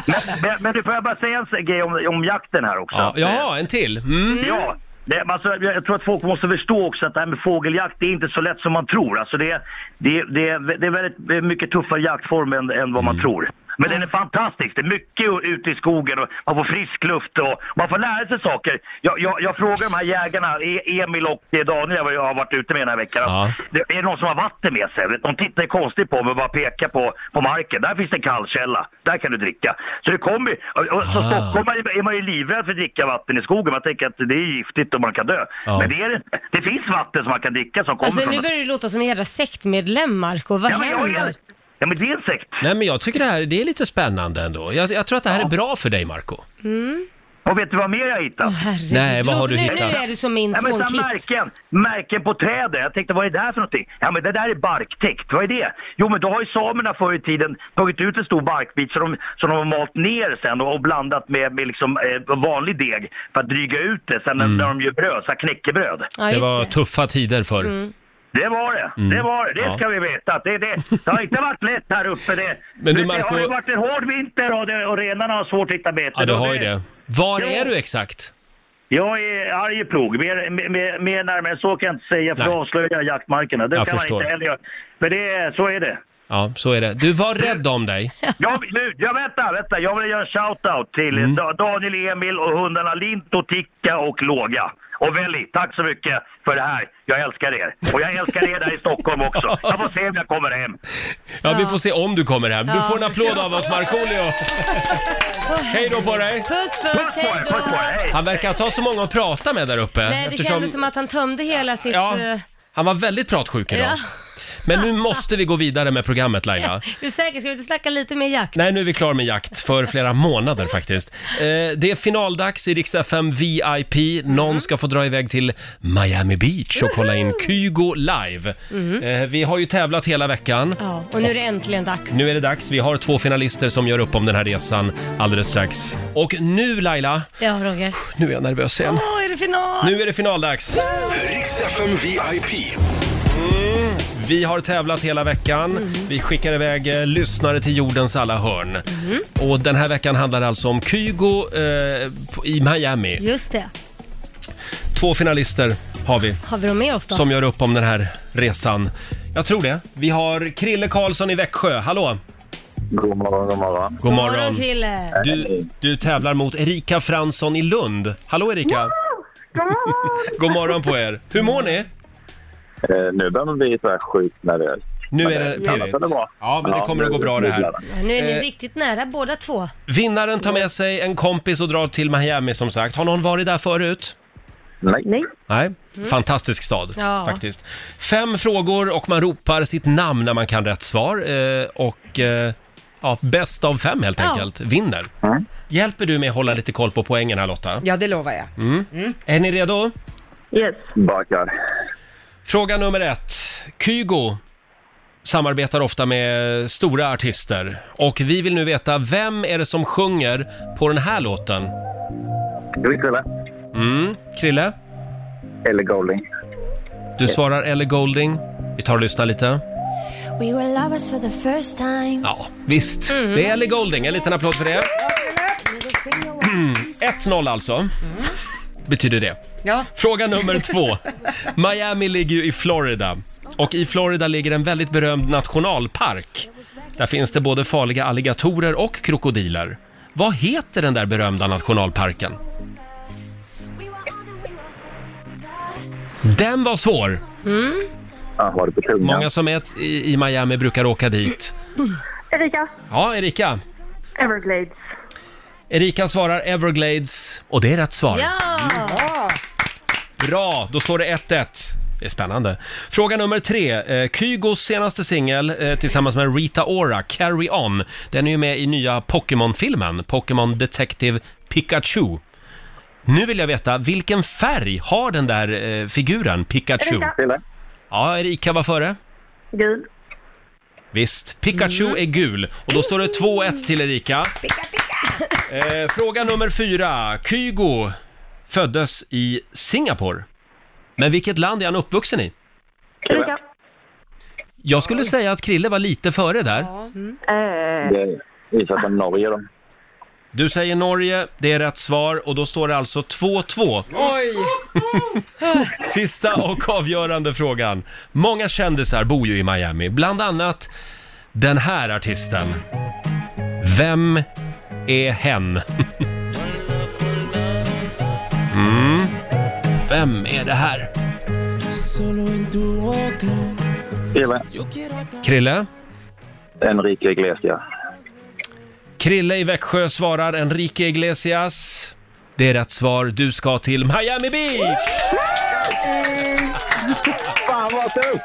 men, men, men du, får jag bara säga en s- grej om, om jakten här också? Ja, jaha, en till. Mm. Ja, det, alltså, jag jag tror att folk måste förstå också att det här med fågeljakt, det är inte så lätt som man tror. Alltså, det, det, det, det är väldigt mycket tuffare jaktform än, än vad Mm. man tror. Men den är fantastisk. Det är mycket ute i skogen och man får frisk luft och man får lära sig saker. Jag, jag, jag frågar de här jägarna, E- Emil och Daniel, vad jag har varit ute med den här veckan. Ja. Det, är det någon som har vatten med sig? De tittar konstigt på mig och bara pekar på, på marken. Där finns det en kallkälla. Där kan du dricka. Så det kommer ju- och- och Så Ah. stockholmare är man ju livrädd för att dricka vatten i skogen. Man tänker att det är giftigt och man kan dö. Ja. Men det, är, det inte. det finns vatten som man kan dricka som kommer Alltså från... nu börjar du låta som en jävla sektmedlem, Marco. Vad ja, men, jag, händer? är- ja, men det är en sekt. Nej, men jag tycker det här det är lite spännande ändå. Jag, jag tror att det här är bra för dig, Marco. Och vet du vad mer jag har hittat? Herregud. Nej, vad har Låter- du nu, hittat? Nu är du som min Ja, men så son här Kit. märken, märken på träden. Jag tänkte, vad är det här för någonting? Ja, men det där är barktäckt. Vad är det? Jo, men då har ju samerna förr i tiden tagit ut en stor barkbit som de, som de har malt ner sen och, och blandat med, med liksom, eh, vanlig deg för att dryga ut det sen när- när de gör bröd, så här knäckebröd. Ja, Det just var tuffa tider förr. Det var det. Mm. Det var det. Det ska vi veta. att Det, det, det har inte varit lätt här uppe. Det, Men du, det- Marco- det har ju varit en hård vinter och, det, och renarna har svårt att hitta bete. Ja, du Och har ju det. Var Jo. är du exakt? Jag är Arjeplog. Mer, mer, mer närmare än så kan jag inte säga för Nej. då avslöjar jag jaktmarkerna. Det Jag kan förstår. man inte heller göra. Men det, är- så är det. Ja, så är det. Du var rädd om dig. Jag, nu, jag, vänta, vänta. jag vill göra en shout-out till Mm. Da- Daniel, Emil och hundarna Linto, Ticka och Låga. Och Velli, tack så mycket för det här. Jag älskar er. Och jag älskar er där i Stockholm också. Jag får se om jag kommer hem. Ja, vi får se om du kommer hem. Du Ja. får en applåd av oss, (laughs) Markoolio. Hej då på dig! Puss, Puss puss, på er, hej puss på då! er. Hej! Han verkar inte ha så många att prata med där uppe. Nej, det kändes som att han tömde hela sitt... Ja, eh, han var väldigt pratsjuk idag. Ja. Men nu måste vi gå vidare med programmet, (laughs) Laila. Du är säker? Ska vi inte snacka lite mer jakt? Nej, nu är vi klara med jakt för flera månader faktiskt. Eh, det är finaldags i Rix FM VIP. Någon ska få dra iväg till Miami Beach och kolla in Kygo live. Eh, vi har ju tävlat hela veckan. Ja, och nu är det äntligen dags. Nu är det dags. Vi har två finalister som gör upp om den här resan alldeles strax. Och nu Laila, Ja, Roger. nu är jag nervös igen. Åh, är det final? Nu är det finaldags. Riks FM VIP. Vi har tävlat hela veckan. Vi skickar iväg eh, lyssnare till jordens alla hörn. Och den här veckan handlar det alltså om Kygo eh, på- i Miami. Just det. Två finalister har vi Har vi dem med oss då? som gör upp om den här resan. Jag tror det. Vi har Krille Karlsson i Växjö. Hallå! God morgon, god morgon. God God morgon morgon. Krille. Du, du tävlar mot Erika Fransson i Lund. Hallå Erika! (laughs) God morgon på er! Hur mår ni? Eh, nu börjar man bli så här sjukt nervös. Nu Men, är det eh, annars pirrigt. är det bra. Ja, men det kommer att nu- gå bra det nu här. blir det. Ja, Nu är ni Eh. riktigt nära båda två. Vinnaren tar med sig en kompis och drar till Miami som sagt. Har någon varit där förut? Nej. Nej. Nej, fantastisk stad Mm. Ja. faktiskt. Fem frågor och man ropar sitt namn när man kan rätt svar. Eh, och eh, ja, bäst av fem helt Ja. enkelt vinner. Hjälper du mig att hålla lite koll på poängen här Lotta? Ja, det lovar jag. Mm. Är ni redo? Yes. Bakar. Fråga nummer ett. Kygo samarbetar ofta med stora artister och vi vill nu veta vem är det som sjunger på den här låten? Grytrulle. Mm, Krille? Eller Golding. Du svarar Ellie Golding. Vi tar och lyssnar lite. We were lovers for the first time. Ja, visst. Det är Ellie Golding. En liten applåd för det. Middle finger was a piece of 1-0 alltså. Betyder det. Ja. Fråga nummer två. Miami ligger ju i Florida. Och i Florida ligger en väldigt berömd nationalpark. Där finns det både farliga alligatorer och krokodiler. Vad heter den där berömda nationalparken? We were on and we were Den var svår! Ja, Mm. Ah, var det på tungan? Många som är t- i i Miami brukar åka dit. Erika. Ja, Erika. Everglades. Erika svarar Everglades och det är rätt svar. Mm. Ja! Bra, då står det 1-1. Det är spännande. Fråga nummer tre. Eh, Kygos senaste singel eh, tillsammans med Rita Ora, Carry On. Den är ju med i nya Pokémon-filmen, Pokémon Detective Pikachu. Nu vill jag veta, vilken färg har den där eh, figuren, Pikachu? Erika. Krille. Ja, Erika var före. Gud. Visst, Pikachu är gul och då står det 2-1 till Erika. Eh, fråga nummer fyra. Kygo föddes i Singapore. Men vilket land är han uppvuxen i? Erika. Jag skulle säga att Krille var lite före där. Eh, Det visar från Norge de. Du säger Norge, det är rätt svar och då står det alltså 2-2. Oj! (laughs) Sista och avgörande frågan. Många kändisar bor ju i Miami, bland annat den här artisten. Vem är hen? Mm. Vem är det här? Krille. Krille? Enrique Iglesias. Krille i Växjö svarar Enrique Iglesias. Det är rätt svar. Du ska till Miami Beach! Fan vad tufft!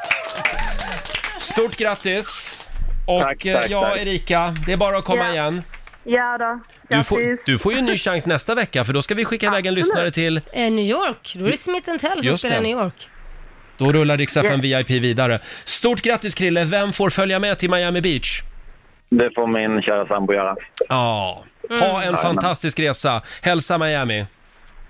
Stort grattis! Och Tack, eh, tack, ja, tack. Erika, det är bara att komma Ja. igen. ja då. Du får, Grattis. du får ju en ny chans nästa vecka för då ska vi skicka iväg en lyssnare till... Eh, New York, då är det Smith Tell som Just spelar det. i New York. Då rullar Rix FM VIP vidare. Stort grattis Krille! Vem får följa med till Miami Beach? Det får min kära sambo göra. Ja, ha en fantastisk resa. Hälsa Miami.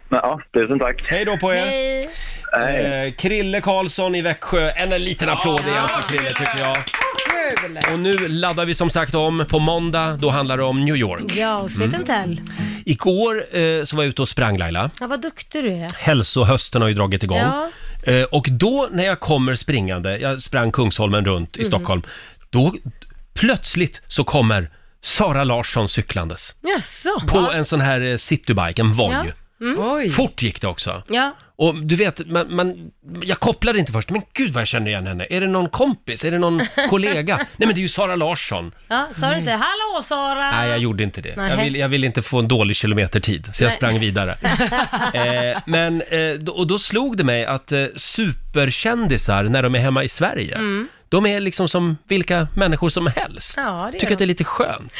Ja, tusen tack. Hej då på er! Hej! Hej. Eh, Krille Karlsson i Växjö. En, en liten applåd igen för Krille tycker jag. Kul! Och nu laddar vi som sagt om. På måndag, då handlar det om New York. Ja, och Mm. Smith Tell. Igår eh, så var jag ute och sprang Laila. Ja, vad duktig du är. Hälsohösten har ju dragit igång. Ja. Eh, och då när jag kommer springande, jag sprang Kungsholmen runt i Stockholm, då plötsligt så kommer Sara Larsson cyklandes. Jaså? På en sån här eh, citybike, en Voi. Ja. Oj! Fort gick det också. Ja. Och du vet, man, man, jag kopplade inte först, men gud vad jag känner igen henne. Är det någon kompis? Är det någon kollega? Nej men det är ju Sara Larsson. ja, sa du inte hallå Sara? Nej, jag gjorde inte det. Jag Nej. vill, jag vill inte få en dålig kilometertid, så jag Nej. sprang (laughs) vidare. eh, men, eh, då- och då slog det mig att eh, superkändisar, när de är hemma i Sverige, de är liksom som vilka människor som helst. Mm. Ja, det är Tycker de. att det är lite skönt.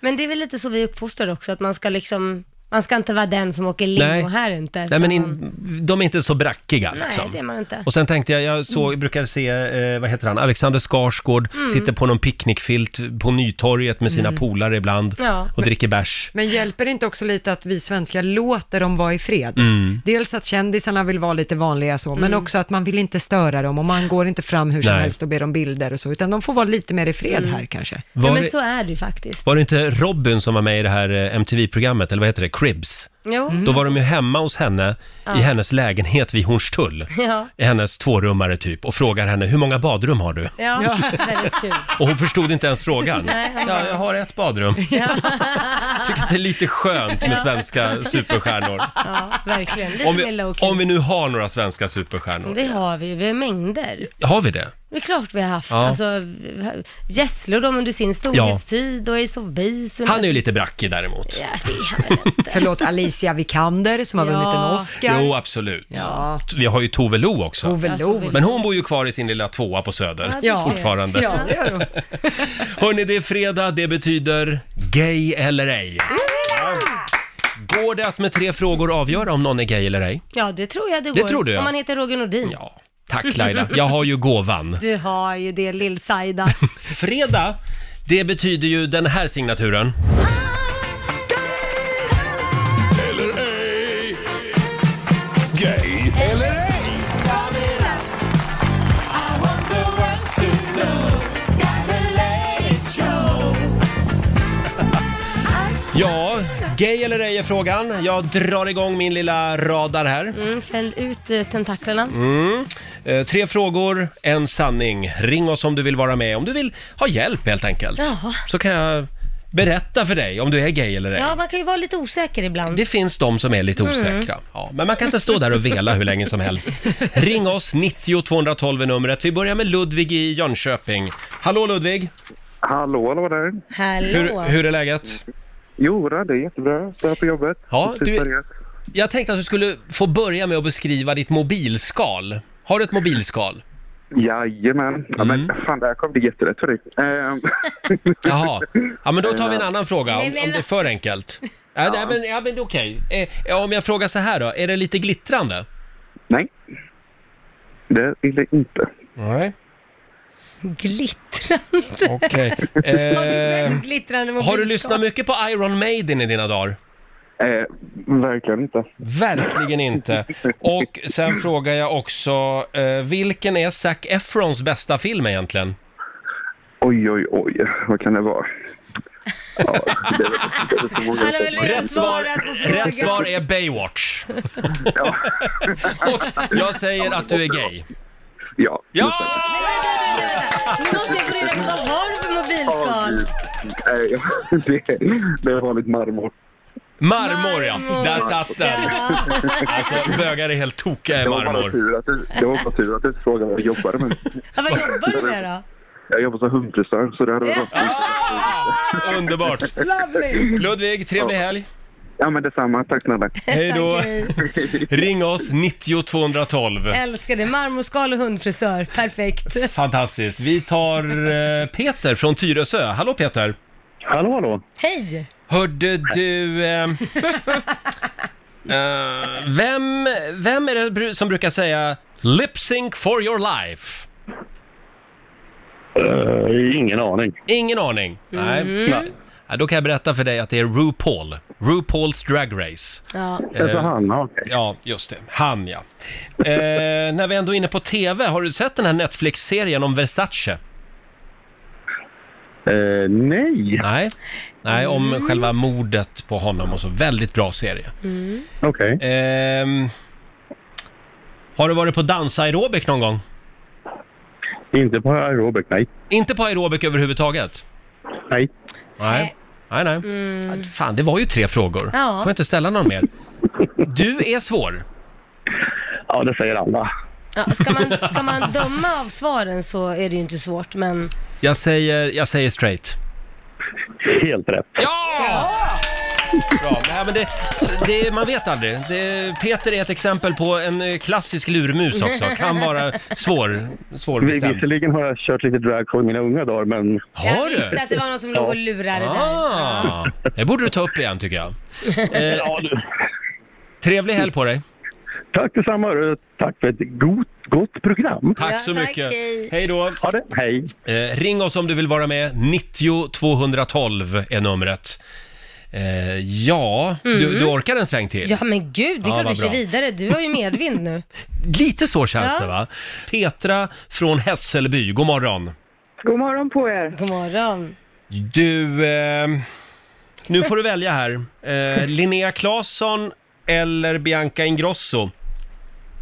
Men det är väl lite så vi är uppfostrade också, att man ska liksom, man ska inte vara den som åker lingo Nej. här inte. Nej, utan men man- in, de är inte så brackiga Nej, liksom. det är man inte. Mm. Och sen tänkte jag, jag såg, brukar se, eh, vad heter han, Alexander Skarsgård sitter på någon picknickfilt på Nytorget med sina polare ibland Mm. Ja. och dricker bärs. Men hjälper det inte också lite att vi svenskar låter dem vara i fred? Mm. Dels att kändisarna vill vara lite vanliga så, men också att man vill inte störa dem och man går inte fram hur som Nej. helst och ber om bilder och så, utan de får vara lite mer i fred Mm. här kanske. Ja, Var, men det, så är det ju faktiskt. var det inte Robin som var med i det här eh, MTV-programmet, eller vad heter det, Cribs? Jo. Då var de ju hemma hos henne i hennes lägenhet vid Hornstull. (laughs) Ja. I hennes tvårummare typ och frågar henne hur många badrum har du? Ja, (laughs) väldigt kul. Och hon förstod inte ens frågan. Nej, hon Ja, jag har ett badrum. (laughs) Tycker att det är lite skönt med svenska superstjärnor. Ja, verkligen. Lite Om mer vi, low-key. om vi nu har några svenska superstjärnor. Det har vi ju, vi har mängder. Har vi det? Det är klart vi har haft. Ja. Alltså, Gessle och de under sin storhetstid och Ace of Base. och- Han är ju lite brackig däremot. Ja, det är han väl inte. Förlåt, Alice Felicia Vikander som har Ja. vunnit en Oscar. Jo, absolut. Ja. Vi har ju Tove Lo också. Tove Alltså, Ja, Lo. Tove Lo. Men hon bor ju kvar i sin lilla tvåa på Söder Ja. fortfarande. Ja, det gör Hörni, det är fredag. Det betyder gay eller ej. Går det att med tre frågor avgöra om någon är gay eller ej? Ja, det tror jag det går. Det tror du, ja. Om man heter Roger Nordin. Ja. Tack Laila, jag har ju gåvan. Du har ju det, lill-Saida. Fredag, det betyder ju den här signaturen. Eller ej. Gay eller ej. Ja, gay eller ej är frågan. Jag drar igång min lilla radar här. Mm, fäll ut eh, tentaklerna. Mm. Eh, tre frågor, en sanning. Ring oss om du vill vara med, om du vill ha hjälp helt enkelt. Jaha. Så kan jag berätta för dig om du är gay eller ej. Ja, man kan ju vara lite osäker ibland. Det finns de som är lite Mm. osäkra. Ja, men man kan inte stå där och vela hur länge som helst. Ring oss, 90 212 är numret. Vi börjar med Ludvig i Jönköping. Hallå Ludvig! Hallå, hallå där. Hallå! Hur, hur är läget? Jo, det är jättebra. Så här på jobbet. Ja, Precis du, börjat. jag tänkte att du skulle få börja med att beskriva ditt mobilskal. Har du ett mobilskal? Jajamän. Ja, men Mm. fan, där kom det jätterätt för dig. Ehm, (laughs) Jaha, ja men då tar vi en annan fråga om, Nej, men om det är va- för enkelt. Ja, nej, men, ja, men okej. Eh, ja, om jag frågar så här då, är det lite glittrande? Nej. Det vill jag inte. Nej. Glittrande. Okej. (laughs) Eh, Eh, Glittrande har du mobilskal. lyssnat mycket på Iron Maiden i dina dagar? Eh, verkligen inte. Verkligen inte. Och sen frågar jag också, eh, vilken är Zac Efrons bästa film egentligen? Oj, oj, oj. Vad kan det vara? Ja, det är väl- det är väl så många har väl saker. redan Rätt svar- svarat på frågan. Rätt svar är Baywatch. Och jag säger att du är gay. Ja. Ja! Nu måste jag gå reda på vad har du för Ja, mobilskal? gud. Nej, det, (laughs) det är vanligt marmor. Marmor ja, där satt den. Alltså bögar är helt tokiga i Det var bara marmor. tur att du, det var bara tur att du inte frågade vad jag jobbade med. Ja, vad jobbar du med då? Jag jobbar som hundfrisör, så det hade varit Underbart. Lovely. Ludvig, trevlig Ja. helg. Ja, men detsamma. Tack snälla. Hej då. Ring oss 90 212. Älskar det. Marmorskal och hundfrisör. Perfekt. Fantastiskt. Vi tar eh, Peter från Tyresö. Hallå Peter. Hallå, hallå. Hej! Hörde du... Eh, eh, vem, vem är det bru- som brukar säga lip sync for your life? Eh, ingen aning. Ingen aning? Nej. Mm. Nej. Ja, då kan jag berätta för dig att det är RuPaul. RuPaul's Drag Race. Ja. Eh, Ja, just det. Han ja. Eh, när vi ändå är inne på TV, har du sett den här Netflix-serien om Versace? Eh, nej. Nej, nej om Mm. själva mordet på honom och så. Väldigt bra serie. Mm. Okej. Ehm, har du varit på dansa aerobic någon gång? Eh. Inte på aerobic, nej. Inte på aerobic överhuvudtaget? Nej. Nej, nej. nej. Fan, det var ju tre frågor. Ja. Får jag inte ställa någon mer? Du är svår. Ja, det säger alla. Ja, ska, man, ska man döma av svaren så är det ju inte svårt, men... Jag säger, jag säger straight. Helt rätt. Bra. Nej, men det, det, man vet aldrig. Det, Peter är ett exempel på en eh, klassisk lurmus också. Kan vara svår, Vi- svårbestämd. Visserligen har jag kört lite drag i mina unga dagar, men... Har Jag visste att det var någon som låg och lurade där. Ah, det borde du ta upp igen tycker jag. Eh, Trevlig helg på dig. Tack detsamma, hörru. Tack för ett gott, gott program. Tack så mycket. Hej då. Ha det. Hej. Eh, ring oss om du vill vara med. 90 212 är numret. Eh, ja, du, Mm. du orkar en sväng till? Ja men gud, det är Ja, klart vad du kör bra. vidare. Du har ju (laughs) medvind nu. Lite så känns Ja. det va? Petra från Hässelby, god morgon. God morgon på er. God morgon. Du, eh, nu får du välja här. Eh, Linnea Claesson eller Bianca Ingrosso?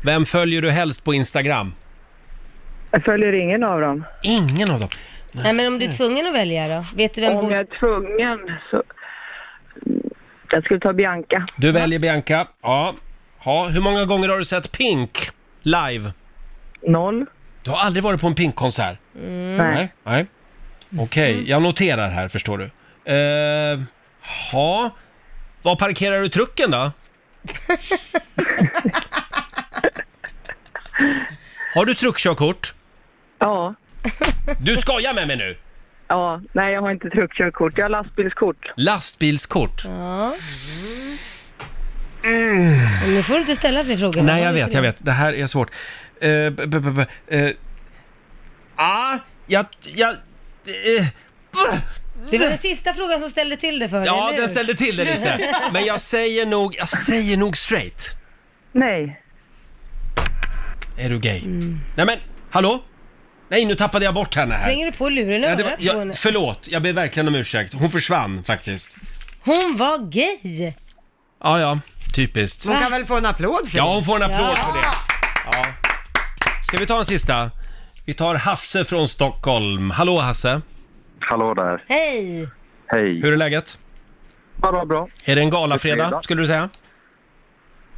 Vem följer du helst på Instagram? Jag följer ingen av dem. Ingen av dem? Nej men om du är tvungen att välja då? Vet du vem Om bor... jag är tvungen så... Jag skulle ta Bianca. Du väljer Bianca. Ja. ja. Hur många gånger har du sett Pink live? Noll. Du har aldrig varit på en Pink-konsert? Mm. Nej. Nej. Okej, jag noterar här förstår du. Eh, Ja, var parkerar du trucken då? Har du truckkörkort? Ja. Du skojar med mig nu! Ja, nej jag har inte truckkörkort, jag har lastbilskort. Lastbilskort. Ja. Mm. Nu får du inte ställa fler frågor. Nej, jag vet, jag vet. Det här är svårt. Eh, b- b- b- eh, ah, jag... jag eh, Det var den sista frågan som ställde till det för dig, ja, eller hur? den ställde till det lite. Men jag säger nog, jag säger nog straight. Nej. Är du gay? Nej men, hallå? Nej, nu tappade jag bort henne här. Slänger du på luren i Ja, det örat var, på henne? jag, förlåt, jag ber verkligen om ursäkt. Hon försvann faktiskt. Hon var gay! Ja, ja, typiskt. Hon kan väl få en applåd för det? Ja, hon får en applåd Ja. för det. Ja. Ska vi ta en sista? Vi tar Hasse från Stockholm. Hallå Hasse! Hallå där. Hej! Hej. Hur är läget? Bara bra. Är det en Det är galafredag, fredag. skulle du säga?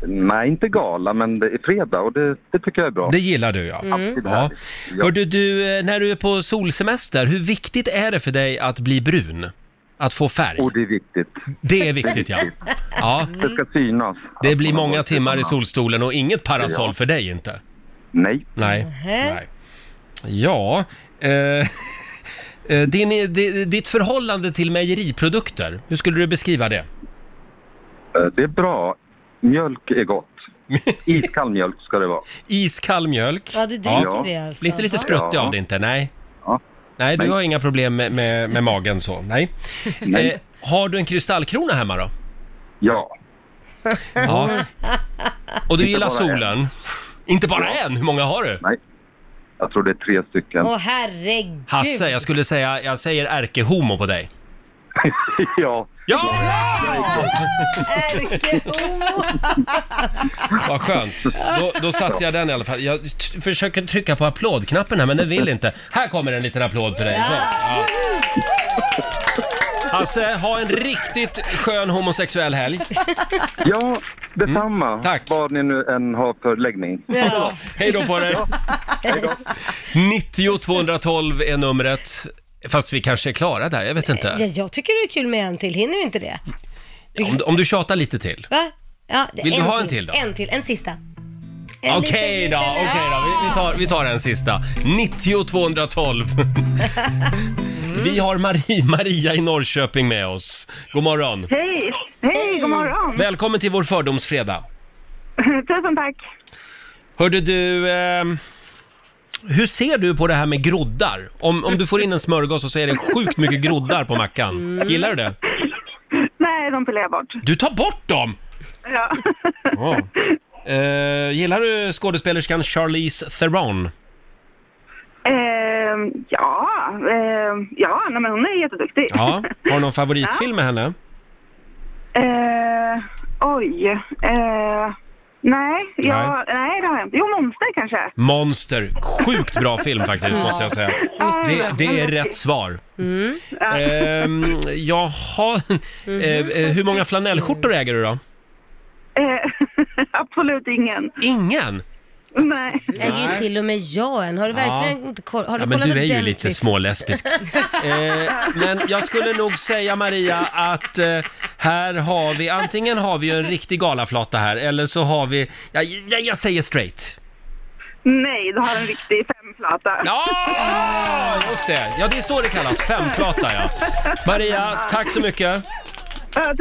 Nej, inte gala, men det är fredag och det, det tycker jag är bra. Det gillar du ja. Mm. ja. Hörde du, eh, när du är på solsemester, hur viktigt är det för dig att bli brun? Att få färg? Och det är viktigt. Det är viktigt ja. ja. Det ska synas. Det blir många timmar i solstolen och inget parasoll Ja. för dig inte. Nej. Nej. Nej. Ja, eh, eh, (laughs) din, eh, di- ditt förhållande till mejeriprodukter, hur skulle du beskriva det? Eh, Det är bra. Mjölk är gott. Iskall mjölk ska det vara. Iskall mjölk? Ja, du dricker det alltså. Lite, lite spruttig Ja. av det inte, nej. Nej, du har inga problem med, med, med magen så, nej. Nej. Eh, har du en kristallkrona hemma då? Ja. Ja. Och du Inte gillar bara solen? Inte bara en, hur många har du? Nej. Jag tror det är tre stycken. Åh herregud! Hasse, jag skulle säga, jag säger ärkehomo på dig. (laughs) ja. Ja! Ärkehomo! Vad skönt. Då, då satte jag den i alla fall. Jag t- försöker trycka på applådknappen här, men den vill inte. Här kommer en liten applåd för dig. Så, Ja. Hasse, ha en riktigt skön homosexuell helg. Ja, detsamma. Tack. Vad ni nu än har för läggning. Ja. Hej då på dig! 90 212 är numret. Fast vi kanske är klara där, jag vet Ja, inte. jag tycker det är kul med en till, hinner vi inte det? Om, om du tjatar lite till. Va? Ja, det- Vill du ha en till då? En till, en sista. En Okej liten, då, liten- okej då. Vi, vi, tar, vi tar en sista. 90 212. Vi har Marie, Maria i Norrköping med oss. God morgon. Hej! Hej, god morgon! Välkommen till vår fördomsfredag. Tusen tack! Hörde du, ehm, hur ser du på det här med groddar? Om, om du får in en smörgås och så är det sjukt mycket groddar på mackan. Mm. Gillar du det? Nej, de pilar jag bort. Du tar bort dem! Ja. Ja. Eh, gillar du skådespelerskan Charlize Theron? (laughs) Ehm, ja, ehm, ja nej, men hon är jätteduktig. Ja. Har du någon favoritfilm med henne? Ehm, oj. Ehm, nej, jag, nej. det har jag inte. Jo, Monster kanske. Monster. Sjukt bra film faktiskt, måste jag säga. Ja, Det, det är men- rätt svar. Mm. Ja. Mhm. Ehm, jaha, Eh, eh, hur många flanellskjortor äger du då? Ehm, (laughs) absolut ingen. Ingen? Nej. Äger ju till och med jag en. Har du Ja. verkligen inte koll? Har du Ja, men kollat typ? du är ju ordentligt? (laughs) lite smålesbisk. Eh, men jag skulle nog säga Maria att eh, här har vi, antingen har vi ju en riktig galaflata här eller så har vi, jag, jag, jag säger straight. Nej, du har en riktig femflata. Ja, just det. Ja, det är så det kallas, femflata ja. Maria, tack så mycket.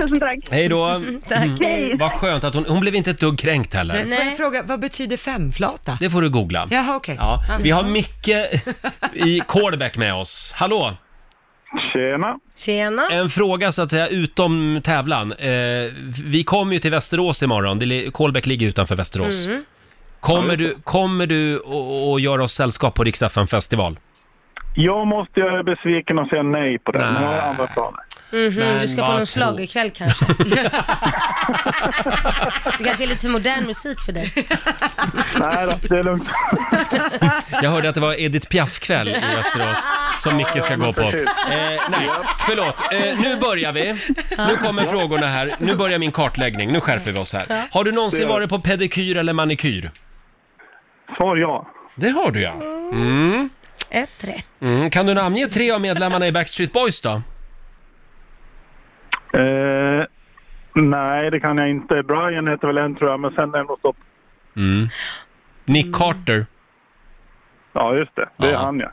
tusen tack. Hej då. Tack. Mm, Vad skönt att hon, hon blev inte ett dugg kränkt Men heller. får jag fråga, vad betyder femflata? Det får du googla. Jaha, okej. Ja, vi har Mm. Micke i Kolbäck med oss. Hallå! Tjena! Tjena! En fråga så att säga utom tävlan. Eh, vi kommer ju till Västerås imorgon. Det li- Kolbäck ligger utanför Västerås. Mm. Kommer du, kommer du och, och göra oss sällskap på Rix FM festival? Jag måste göra er besviken och säga nej på den. Jag har andra planer. Mhm, Men du ska på vad någon tråkigt. schlagerkväll (laughs) kanske? det kanske är lite för modern musik för dig. Nej då, det är lugnt. Jag hörde att det var Edith Piaf-kväll i Västerås som Micke ska gå på. Eh, precis. nej, förlåt. Eh, nu börjar vi. Nu kommer frågorna här. Nu börjar min kartläggning. Nu skärper vi oss här. Har du någonsin varit på pedikyr eller manikyr? Svar ja. Det har du ja. Mm. Ett rätt. Mm. Kan du namnge tre av medlemmarna i Backstreet Boys då? Eh, Nej, det kan jag inte. Brian heter väl en tror jag, men sen är det nog stopp. Mm. Nick Carter. Ja, just det. Det är Ja. han ja.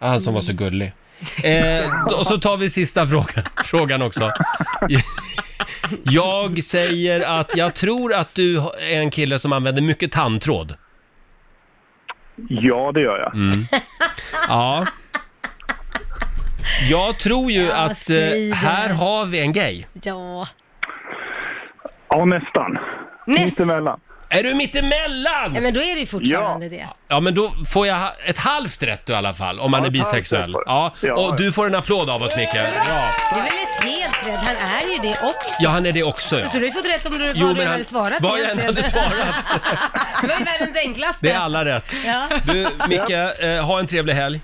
Han som var så gullig. Eh, och så tar vi sista frågan, frågan också. Jag säger att jag tror att du är en kille som använder mycket tandtråd. Ja, det gör jag. Mm. Ja. Jag tror ju att säg eh, det. här har vi en grej. Ja. Ja, nästan. Mittemellan. Är du mittemellan? Ja, men då är det ju fortfarande det. Ja, men då får jag ha- ett halvt rätt i alla fall, om man Ja, är ett halvt bisexuell. Ja. Och du får en applåd av oss, Micke. Bra. Det är väl ett helt rätt, han är ju det också. Ja, han är det också, ja. Så du har ju fått rätt om du, Jo, vad du men än han- hade svarat. vad jag än (laughs) egentligen. hade svarat. (laughs) det var ju världens enklaste. Det är alla rätt. Ja. Du, Micke, eh, ha en trevlig helg.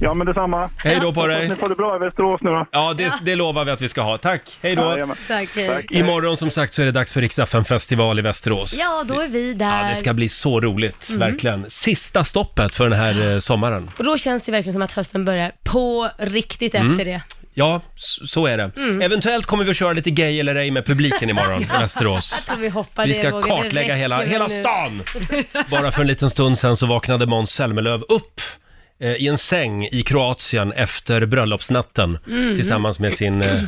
Ja, men detsamma. Hej då på Hoppas dig. Ni får det bra i Västerås nu då. Ja, det, det lovar vi att vi ska ha. Tack, hej då. Jajamän. Tack, hej. Tack. Imorgon som sagt så är det dags för riksdagen festival i Västerås. Ja, då är vi där. Ja, det ska bli så roligt, Mm. verkligen. Sista stoppet för den här eh, sommaren. Och då känns det ju verkligen som att hösten börjar på riktigt Mm. efter det. Ja, s- så är det. Mm. Eventuellt kommer vi att köra lite gay eller ej med publiken imorgon i (laughs) Ja, Västerås. Jag tror vi hoppar Vi det, ska Roger. Det kartlägga räcker hela- väl hela nu. stan. (laughs) Bara för en liten stund sen så vaknade Måns Zelmerlöw upp eh, i en säng i Kroatien efter bröllopsnatten Mm. tillsammans med sin, eh,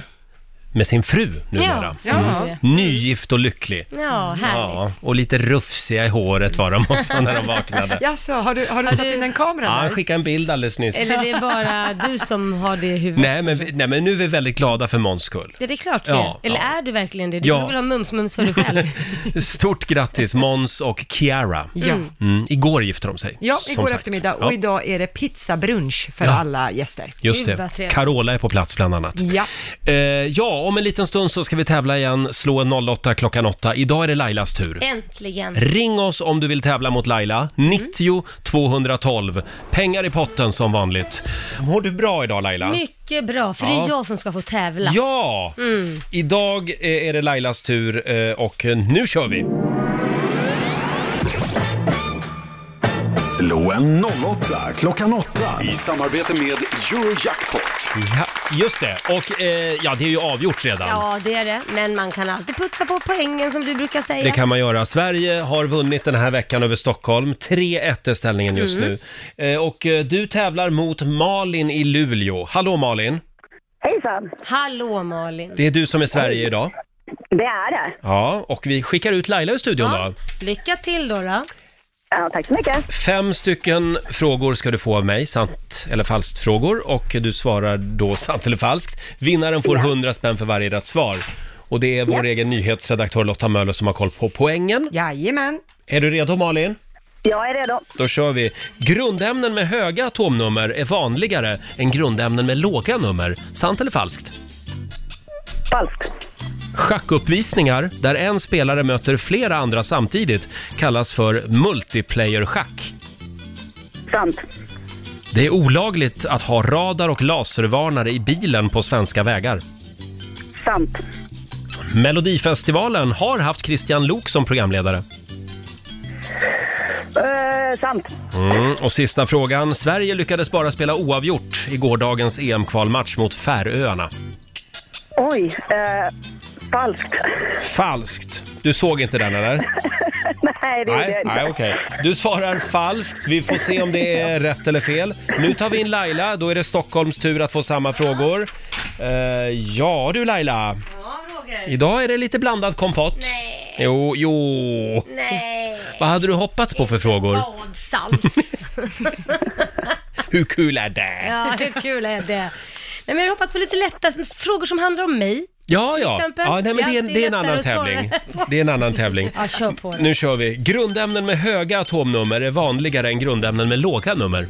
med sin fru numera. Mm. Ja, så är det. Nygift och lycklig. Ja, härligt. och lite rufsiga i håret var de också när de (laughs) vaknade. Jaså, har du, har du satt in en Ja, kamera han där? skickade en bild alldeles nyss. Eller det är (laughs) bara du som har det i huvudet. Nej men, vi, nej, men nu är vi väldigt glada för Måns (laughs) skull. Det är klart vi Ja, är. Eller är du verkligen det? Du Ja. ja. vill ha mums-mums för dig (laughs) själv. Stort grattis Måns och Kiara. Ja. Mm, igår gifte de sig. Ja, som igår sagt. eftermiddag och Ja, idag är det pizzabrunch för Ja. alla gäster. Just det. Carola är på plats bland annat. Ja. Eh, ja, om en liten stund så ska vi tävla igen. Slå en 08 klockan 8. Idag är det Lailas tur. Äntligen. Ring oss om du vill tävla mot Laila. 90 212. Pengar i potten som vanligt. Mår du bra idag Laila? Mycket bra, för det Ja. är jag som ska få tävla. Ja! Mm. Idag eh, är det Lailas tur eh, och eh, nu kör vi! Slå en 08 klockan 8 i samarbete med Eurojackpot. Ja, just det. Och eh, ja, det är ju avgjort redan. Ja, det är det. Men man kan alltid putsa på poängen som du brukar säga. Det kan man göra. Sverige har vunnit den här veckan över Stockholm. 3-1 är ställningen just Mm. nu. Eh, Och eh, du tävlar mot Malin i Luleå. Hallå Malin! Hejsan! Hallå Malin! Det är du som är Sverige idag. Det är det. Ja, och vi skickar ut Laila ur studion Ja. då. Lycka till då, då. Ja, tack så mycket. Fem stycken frågor ska du få av mig, sant eller falskt frågor. Och du svarar då sant eller falskt. Vinnaren får 100 spänn för varje rätt svar. Och det är vår egen nyhetsredaktör Lotta Möller som har koll på poängen. Jajamän! Är du redo Malin? Jag är redo. Då kör vi. Grundämnen med höga atomnummer är vanligare än grundämnen med låga nummer. Sant eller falskt? Falskt. Schackuppvisningar där en spelare möter flera andra samtidigt kallas för multiplayer-schack. Sant. Det är olagligt att ha radar och laservarnare i bilen på svenska vägar. Sant. Melodifestivalen har haft Christian Lok som programledare. Eh, sant. Mm, och sista frågan. Sverige lyckades bara spela oavgjort i gårdagens EM-kvalmatch mot Färöarna. Oj. Eh, falskt. Falskt. Du såg inte den eller? (laughs) Nej, det gjorde jag inte. nej okej. Du svarar falskt. Vi får se om det är rätt eller fel. Nu tar vi in Laila. Då är det Stockholms tur att få samma frågor. Eh, ja du Laila. Idag är det lite blandad kompott. Nej. Jo, jo. Nej. Vad hade du hoppats på för frågor? Badsalt. Hur kul är det? ja, hur kul är det? Nej, men jag har hoppat på lite lätta frågor som handlar om mig. Ja, Till ja. exempel. ja nej, men det, är, en- det är en lättare annan att svara. tävling. Det är en annan tävling. Ja, kör på det. Nu kör vi. Grundämnen med höga atomnummer är vanligare än grundämnen med låga nummer.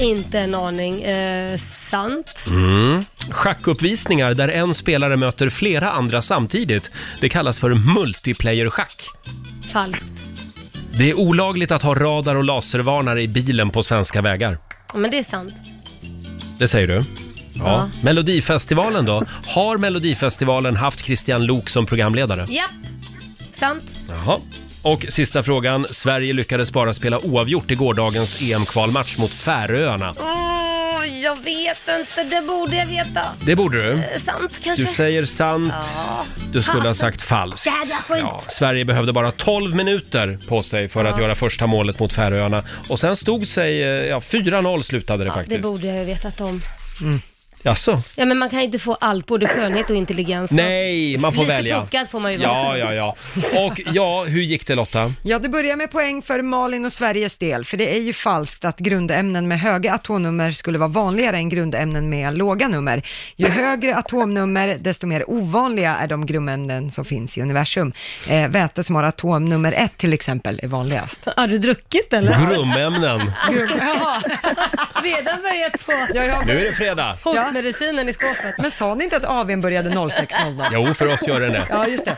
Inte en aning. Eh, sant. Mm. Schackuppvisningar där en spelare möter flera andra samtidigt. Det kallas för multiplayer-schack. Falskt. Det är olagligt att ha radar och laservarnare i bilen på svenska vägar. Ja, men det är sant. Det säger du? Ja. Ja. Melodifestivalen då? Har Melodifestivalen haft Christian Lok som programledare? Japp. Sant. Jaha. Och sista frågan. Sverige lyckades bara spela oavgjort i gårdagens EM-kvalmatch mot Färöarna. Oj, Jag vet inte, det borde jag veta. Det borde du. Eh, sant kanske? Du säger sant. Ja. Du skulle ha Fasen. sagt falskt. Jävla skit. Ja, Sverige behövde bara 12 minuter på sig för att Ja. göra första målet mot Färöarna. Och sen stod sig, eh, ja 4-0 slutade det Det faktiskt. borde jag ju vetat om. Jaså? Ja, men man kan ju inte få allt, både skönhet och intelligens. Nej, man får Lite välja. puckad får man ju Ja, vara. ja, ja. Och ja, hur gick det Lotta? Ja, det börjar med poäng för Malin och Sveriges del, för det är ju falskt att grundämnen med höga atomnummer skulle vara vanligare än grundämnen med låga nummer. Ju högre atomnummer, desto mer ovanliga är de grundämnen som finns i universum. Eh, väte som har atomnummer 1 till exempel är vanligast. Har du (laughs) druckit eller? Grumämnen. (laughs) Grum- Jaha. Redan börjat på Nu är det fredag. hostmedicinen i skåpet. Men sa ni inte att AWn började 06.00? Jo, för oss gör den det. Ja, just det.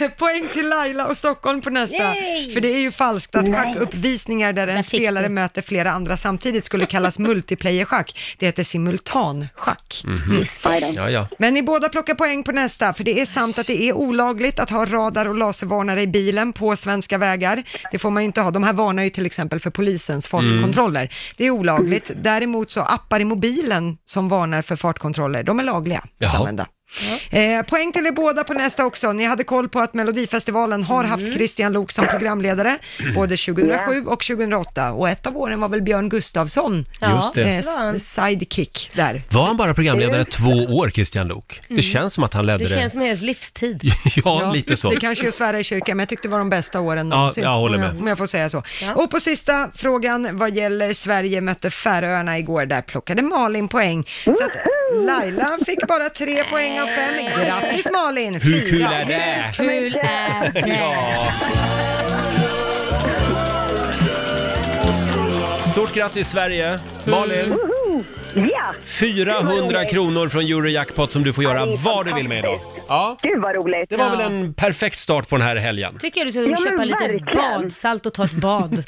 Eh, (laughs) poäng till Laila och Stockholm på nästa. Yay! För det är ju falskt att Nej. schackuppvisningar där en spelare möter flera andra samtidigt skulle kallas multiplayer-schack. Det heter simultanschack. Mhm. Just det. Ja, ja. Men ni båda plockar poäng på nästa, för det är sant att det är olagligt att ha radar och laservarnare i bilen på svenska vägar. Det får man ju inte ha. De här varnar ju till exempel för polisens Mm. fartkontroller. Det är olagligt. Däremot så appar i mobilen som varnar för fartkontroller, de är lagliga att Jaha. använda. Eh, poäng till er båda på nästa också. Ni hade koll på att Melodifestivalen har haft Christian Lok som (clears throat) programledare både 2007 och 2008 och ett av åren var väl Björn Gustafsson Ja, Just det. eh, s- det var han. sidekick där. Var han bara programledare två år, Christian Lok? Mm. Det känns som att han ledde Det det. känns som hela livstid. (laughs) Ja, lite så. Det kanske är att svära i kyrkan, men jag tyckte det var de bästa åren Ja, någonsin. jag håller om med. Om jag får säga så. Och på sista frågan vad gäller Sverige mötte Färöarna igår, där plockade Malin poäng. Så att Laila fick bara tre poäng av fem. Grattis Malin! Hur kul Fyra. är det? Hur kul är det? Ja. Stort grattis Sverige! Malin, Ja! 400 kronor från Eurojackpot som du får göra vad du vill med idag. Ja. Gud vad roligt! Det var väl en perfekt start på den här helgen. Tycker jag du ska Ja, men köpa lite verkligen. badsalt och ta (laughs) ett bad.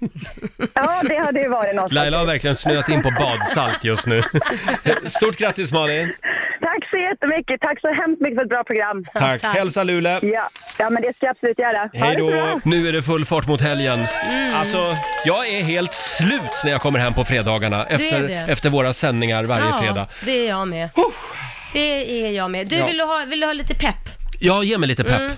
Ja, det hade ju varit något. Laila har verkligen snöat in på badsalt just nu. (laughs) Stort grattis Malin! Tack så jättemycket. Tack så hemskt mycket för ett bra program. Tack. Hälsa Luleå. Ja. ja, men det ska jag absolut göra. Ha Hej det så bra. då! Nu är det full fart mot helgen. Mm. Alltså, jag är helt slut när jag kommer hem på fredagarna Du är efter, det. efter våra sändningar varje fredag. Ja, det är jag med. Det är jag med. Du, Ja. vill, du ha, vill du ha lite pepp? Ja, ge mig lite pepp. Mm.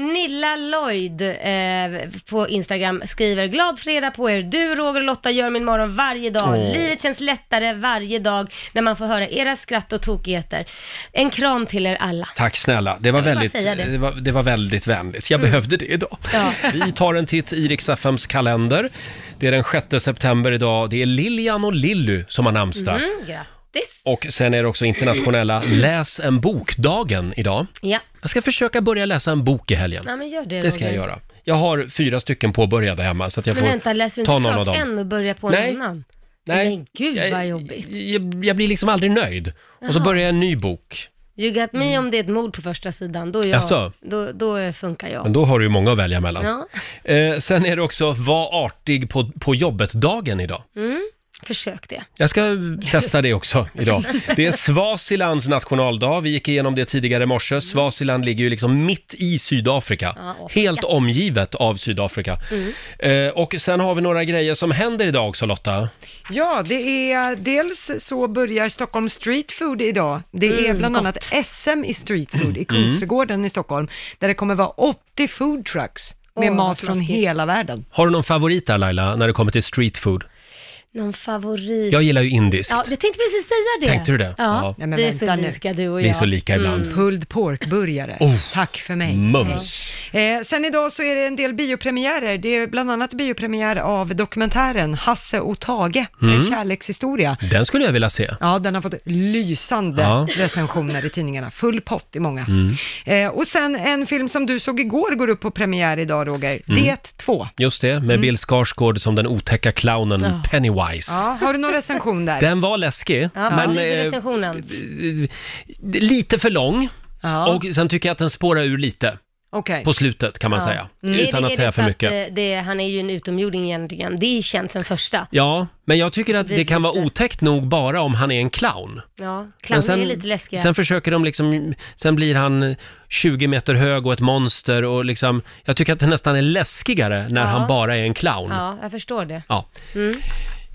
Eh, Nilla Lloyd eh, på Instagram skriver Glad fredag på er. Du Roger och Lotta gör min morgon varje dag. Åh. Livet känns lättare varje dag när man får höra era skratt och tokigheter. En kram till er alla. Tack snälla, det var, Jag vill bara väldigt, säga det. Mm. det. var, det var väldigt vänligt. Jag behövde det idag. Ja. Vi tar en titt i Riks-FMs kalender. Det är den 6 september idag. Det är Lilian och Lilly som har namnsdag. Mm, grattis. Och sen är det också internationella läs en bok-dagen idag. Ja. Jag ska försöka börja läsa en bok i helgen. Nej, men gör det, Det ska jag Roger. göra. Jag har fyra stycken påbörjade hemma så att jag Men får vänta, läser du ta inte någon av klart dem. en och börjar på Nej. en annan? Nej. Men gud vad jobbigt. Jag, jag blir liksom aldrig nöjd. Och så Jaha. börjar jag en ny bok. You got me om det är ett mord på första sidan, då, är Mm. Jaså? Mm. jag, då, då funkar jag. Men då har du ju många att välja mellan. Ja. Eh, sen är det också var artig på, på jobbet-dagen idag. Mm. Försök det. Jag ska testa det också idag. Det är Swazilands nationaldag. Vi gick igenom det tidigare i morse. Swaziland ligger ju liksom mitt i Sydafrika. Ja, Afrika. Helt omgivet av Sydafrika. Mm. Eh, och sen har vi några grejer som händer idag också Lotta. Ja, det är dels så börjar Stockholm Street Food idag. Det är Mm, bland gott. annat SM i street food Mm. i Kungsträdgården i Stockholm, där det kommer vara 80 food trucks med Åh, vad mat från taskigt. hela världen. Har du någon favorit där Laila, när det kommer till street food? Någon favorit? Jag gillar ju indiskt. Ja, jag tänkte precis säga det. Tänkte du det? Ja, Ja. Nej, men vi är så vänta nu. lika du och jag. Vi är så lika ibland. Pulled pork-burgare. Tack för mig. Oh, Mm. Mums. Eh, sen idag så är det en del biopremiärer. Det är bland annat biopremiär av dokumentären Hasse och Tage, en Mm. kärlekshistoria. Den skulle jag vilja se. Ja, den har fått lysande Ja. recensioner i tidningarna. Full pott i många. Mm. Eh, och sen en film som du såg igår går upp på premiär idag, Roger. Mm. Det 2. Just det, Mm. med Bill Skarsgård som den otäcka clownen Ja. Pennywise. Ja, (laughs) har du någon recension där? Den var läskig, Ja, men lyder eh, recensionen. lite för lång. Ja. Och sen tycker jag att den spårar ur lite Okej. på slutet kan man Ja. säga. Mm. Är Utan det- att är säga det för mycket. Att, eh, det, han är ju en utomjording egentligen. Det är ju känt sen första. Ja, men jag tycker att blir det det kan vara otäckt nog bara om han är en clown. Ja, Men clowner är lite läskiga. Sen försöker de liksom, sen blir han 20 meter hög och ett monster och liksom, jag tycker att det nästan är läskigare när Ja. han bara är en clown. Ja. Ja, jag förstår det. Ja. Mm.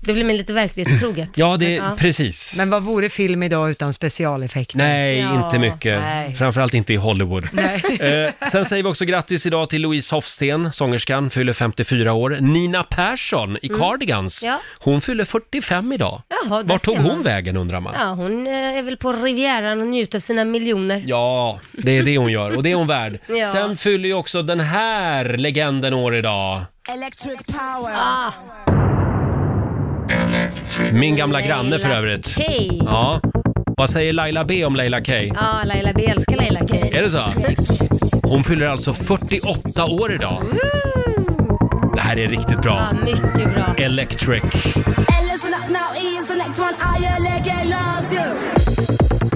Det blir mig lite verklighetstroget. Ja, det, precis. Men vad vore film idag utan specialeffekter? Nej, inte mycket. Nej. Framförallt inte i Hollywood. Eh, sen säger vi också grattis idag till Louise Hofsten, sångerskan, fyller 54 år. Nina Persson i Mm. Cardigans, Ja. hon fyller 45 idag. Jaha, där Var ska tog hon man. vägen undrar man? Ja, hon eh, är väl på Rivieran och njuter av sina miljoner. Ja, det är det hon gör och det är hon värd. (laughs) Ja. Sen fyller ju också den här legenden år idag. Electric power. Ah. Min gamla granne för Leila övrigt. K. Ja. Vad säger Laila B om Leila K? Ja, Laila B älskar Laila K. Är det så? Hon fyller alltså 48 år idag. Det här är riktigt bra. Ja, mycket bra. Electric. And listen up now, E is the next one. I your leg it loves you.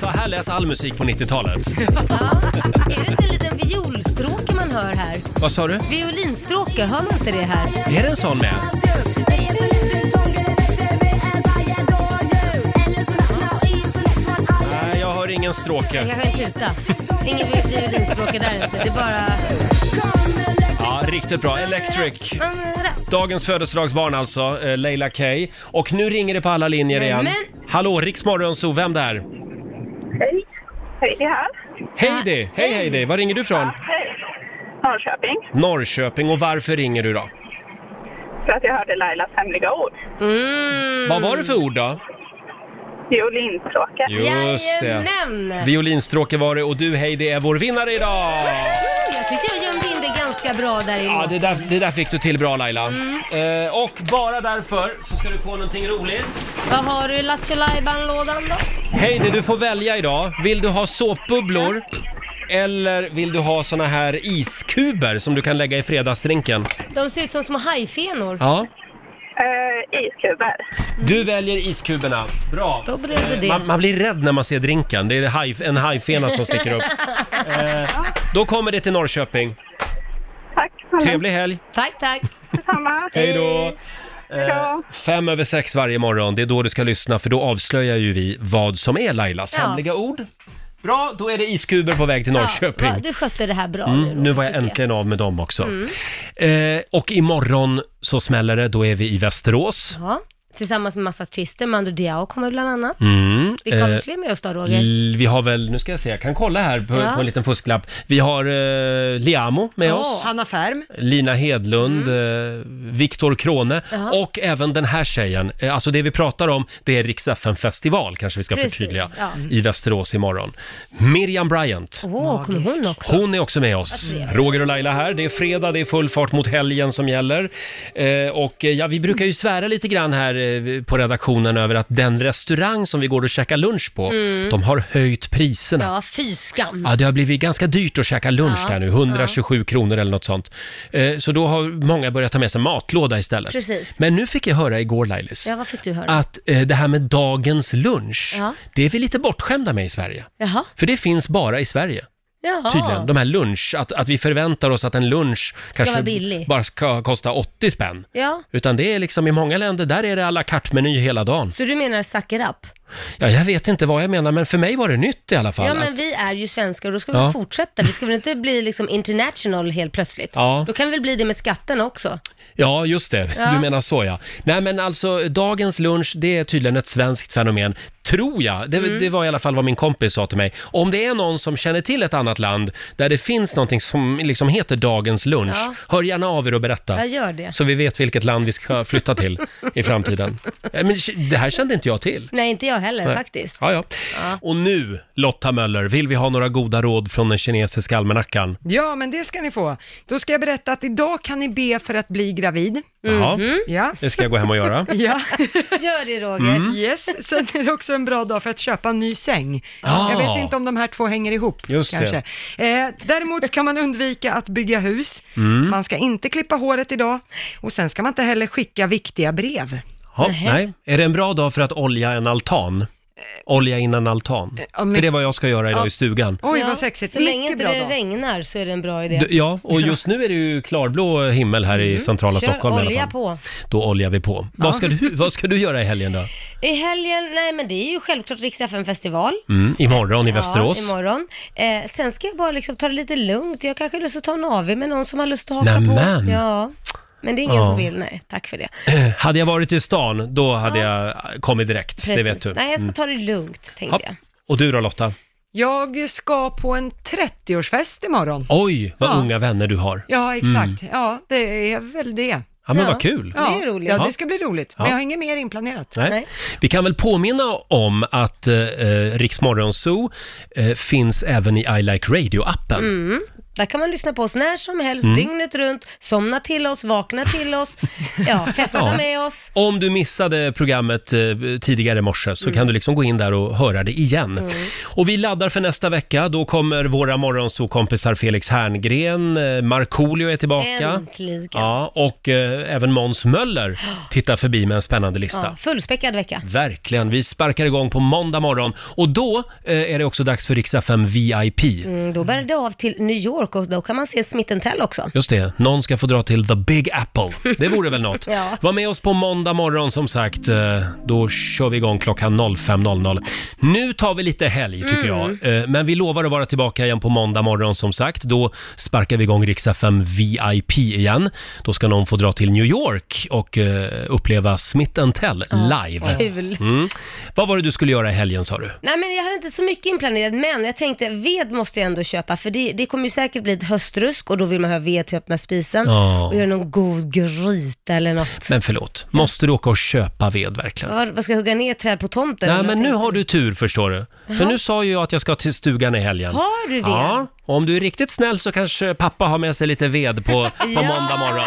Så här lät all musik på 90-talet. Är det inte en liten violstråke man hör här? Vad sa du? Violinstråke, hör man inte det här? Är det en sån med? E Nej, jag hör ingen Jag stråke. kanske en tuta. Ingen violinstråke där inte. Det är bara... Ja, riktigt bra. Electric. Dagens födelsedagsbarn alltså, eh, Leila K. Och nu ringer det på alla linjer igen. Nämen. Hallå, Riksmorgon, så vem där? Hej. Hej, det är här. Heidi! Hej Heidi! Var ringer du från? Hej. Norrköping. Norrköping. Och varför ringer du då? För att jag hörde Lailas hemliga ord. Mm. Vad var det för ord då? Violinstråke. Just det. Violinstråke var det och du Heidi är vår vinnare idag! Mm, Jag tycker jag gömde in det ganska bra där i Ja, det där, det där fick du till bra Laila. Mm. Eh, och bara därför så ska du få någonting roligt. Vad har du i Lattjo lådan då? Heidi, du får välja idag. Vill du ha såpbubblor? Eller vill du ha såna här iskuber som du kan lägga i fredagsdrinken? De ser ut som små hajfenor. Ja. Eh, iskuber. Du väljer iskuberna. Bra. Då blev det Eh, det. Man, man blir rädd när man ser drinken. Det är haj, en hajfena som sticker (laughs) upp. Eh, då kommer det till Norrköping. Tack. Trevlig helg. Tack, tack. Hej då. Eh, fem över sex varje morgon, det är då du ska lyssna för då avslöjar ju vi vad som är Lailas hemliga ord. Bra, då är det iskuber på väg till Norrköping. Ja, du skötte det här bra Mm, nu då, nu var jag tycker äntligen av med dem också. Mm. Eh, och imorgon så smäller det, då är vi i Västerås. Ja, tillsammans med massa artister. Mandou Diao kommer bland annat. Mm, Vilka har vi eh, fler med oss då, Roger? l- Vi har väl, nu ska jag se, jag kan kolla här på, Ja. på en liten fusklapp. Vi har eh, Liamo med oss. Hanna Färm. Lina Hedlund, Mm. eh, Viktor Krone Ja. och även den här tjejen. Eh, Alltså det vi pratar om, det är Rix festival kanske vi ska Precis, förtydliga, ja. i Västerås imorgon. Miriam Bryant. Åh, kommer hon också? Hon är också med oss. Vad trevligt. Roger och Laila här. Det är fredag, det är full fart mot helgen som gäller. Eh, och eh, ja, vi brukar ju svära lite grann här eh, på redaktionen över att den restaurang som vi går och käkar lunch på, Mm. de har höjt priserna. Ja, fy skam. Ja, det har blivit ganska dyrt att käka lunch Ja, där nu, 127 kronor eller något sånt. Eh, Så då har många börjat ta med sig matlåda istället. Precis. Men nu fick jag höra igår Lailis, Ja, vad fick du höra? att eh, det här med dagens lunch, Ja. det är vi lite bortskämda med i Sverige. Jaha. För det finns bara i Sverige. Jaha. Tydligen, de här lunch, att, att vi förväntar oss att en lunch vara kanske billig. bara ska kosta 80 spänn. Ja. Utan det är liksom i många länder, där är det à la carte-meny hela dagen. Så du menar suck it up? Ja, jag vet inte vad jag menar, men för mig var det nytt i alla fall. Ja, att- men vi är ju svenskar och då ska Ja. vi fortsätta. Vi ska väl inte bli liksom international helt plötsligt? Ja. Då kan vi väl bli det med skatten också? Ja, just det. Ja. Du menar så ja. Nej men alltså, dagens lunch, det är tydligen ett svenskt fenomen, tror jag. Det, Mm. det var i alla fall vad min kompis sa till mig. Om det är någon som känner till ett annat land där det finns någonting som liksom heter dagens lunch, Ja. hör gärna av er och berätta. Jag gör det. Så vi vet vilket land vi ska flytta till i (laughs) framtiden. Eh, Men det här kände inte jag till. Nej, inte jag heller Nej. faktiskt. Ja, ja. Och nu, Lotta Möller, vill vi ha några goda råd från den kinesiska almanackan? (laughs) Ja, men det ska ni få. Då ska jag berätta att idag kan ni be för att bli gravid. Mhm. Jaha, Ja. det ska jag gå hem och (laughs) göra. Ja. Gör det Roger. Mm. Yes, sen är det också en bra dag för att köpa en ny säng. Ah. Jag vet inte om de här två hänger ihop Just det. kanske. Eh, däremot ska man undvika att bygga hus. Mm. Man ska inte klippa håret idag och sen ska man inte heller skicka viktiga brev. Ja, nej. Är det en bra dag för att olja en altan? Olja innan altan. Eh, Ja, men- För det är vad jag ska göra idag Ja. i stugan. Ja, Så länge inte det regnar så är det en bra idé. D- Ja, och just nu är det ju klarblå himmel här i centrala Mm. Kör Stockholm i alla olja fall. på. Då oljar vi på. Ja. Vad, ska du, vad ska du göra i helgen då? I helgen, nej men det är ju självklart riks festival Mm, imorgon i Västerås. Ja, imorgon. Eh, sen ska jag bara liksom ta det lite lugnt. Jag kanske har lust att ta en AV med någon som har lust att haka Nämen. på. Ja. Men det är ingen Ja. som vill, nej. Tack för det. Hade jag varit i stan, då hade jag kommit direkt. Det vet du. Nej, jag ska Mm. ta det lugnt, tänkte Hopp. jag. Och du då Lotta? Jag ska på en 30-årsfest imorgon. Oj, vad Ja. unga vänner du har. Ja, exakt. Mm. Ja, det är väl det. Ja, men vad kul. Ja, Det är roligt. Ja, Ja. det ska bli roligt. Ja. Men jag har inget mer inplanerat. Nej. Vi kan väl påminna om att eh, Riksmorgon Zoo eh, finns även i I Like Radio-appen. Mm. Där kan man lyssna på oss när som helst, Mm. dygnet runt, somna till oss, vakna (laughs) till oss, ja, festa Ja. med oss. Om du missade programmet eh, tidigare i morse så Mm. kan du liksom gå in där och höra det igen. Mm. Och vi laddar för nästa vecka. Då kommer våra morgonsokompisar Felix Herngren, eh, Markoolio är tillbaka. Äntligen. Ja, och eh, även Måns (gasps) Möller tittar förbi med en spännande lista. Ja, fullspäckad vecka. Verkligen. Vi sparkar igång på måndag morgon och då eh, är det också dags för Riksdag 5 VIP. Mm, då bär det av till New York och då kan man se Smith Tell också. Just det, någon ska få dra till The Big Apple. Det vore väl något. (laughs) Ja. Var med oss på måndag morgon som sagt. Eh, Då kör vi igång klockan 05.00. Nu tar vi lite helg tycker Mm. jag. Eh, Men vi lovar att vara tillbaka igen på måndag morgon som sagt. Då sparkar vi igång Rix FM VIP igen. Då ska någon få dra till New York och eh, uppleva Smith Tell live. Kul. Mm. Vad var det du skulle göra i helgen sa du? Nej men jag hade inte så mycket inplanerat, men jag tänkte ved måste jag ändå köpa för det, det kommer ju säkert bli ett höstrusk och då vill man ha ved till att öppna spisen Ja. och göra någon god gryta eller något. Men förlåt, måste du åka och köpa ved verkligen? Vad, vad ska jag hugga ner träd på tomten? Nej, eller men någonting? nu har du tur förstår du. För Jaha. nu sa ju jag att jag ska till stugan i helgen. Har du ved? Ja, och om du är riktigt snäll så kanske pappa har med sig lite ved (laughs) på, på ja, måndag morgon.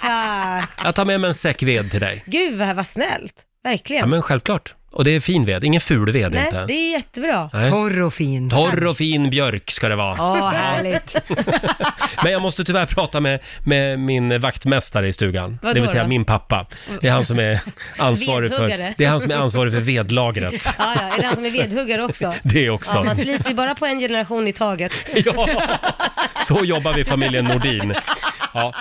tack! Jag tar med mig en säck ved till dig. Gud vad, vad snällt, verkligen. Ja, men självklart. Och det är fin ved, ingen ful ved Nej, inte. det är ju jättebra. Nej. Torr och fin. Torr och fin björk ska det vara. Ja, härligt. (laughs) Men jag måste tyvärr prata med, med min vaktmästare i stugan. Vadå det vill säga då? min pappa. Det är han som (laughs) är ansvarig Vedhuggare. för, det är han som är ansvarig för vedlagret. (laughs) Ja, ja, är det han (laughs) som är vedhuggare också? Det också. Ja, (laughs) man sliter ju bara på en generation i taget. Så jobbar vi familjen Nordin. Ja,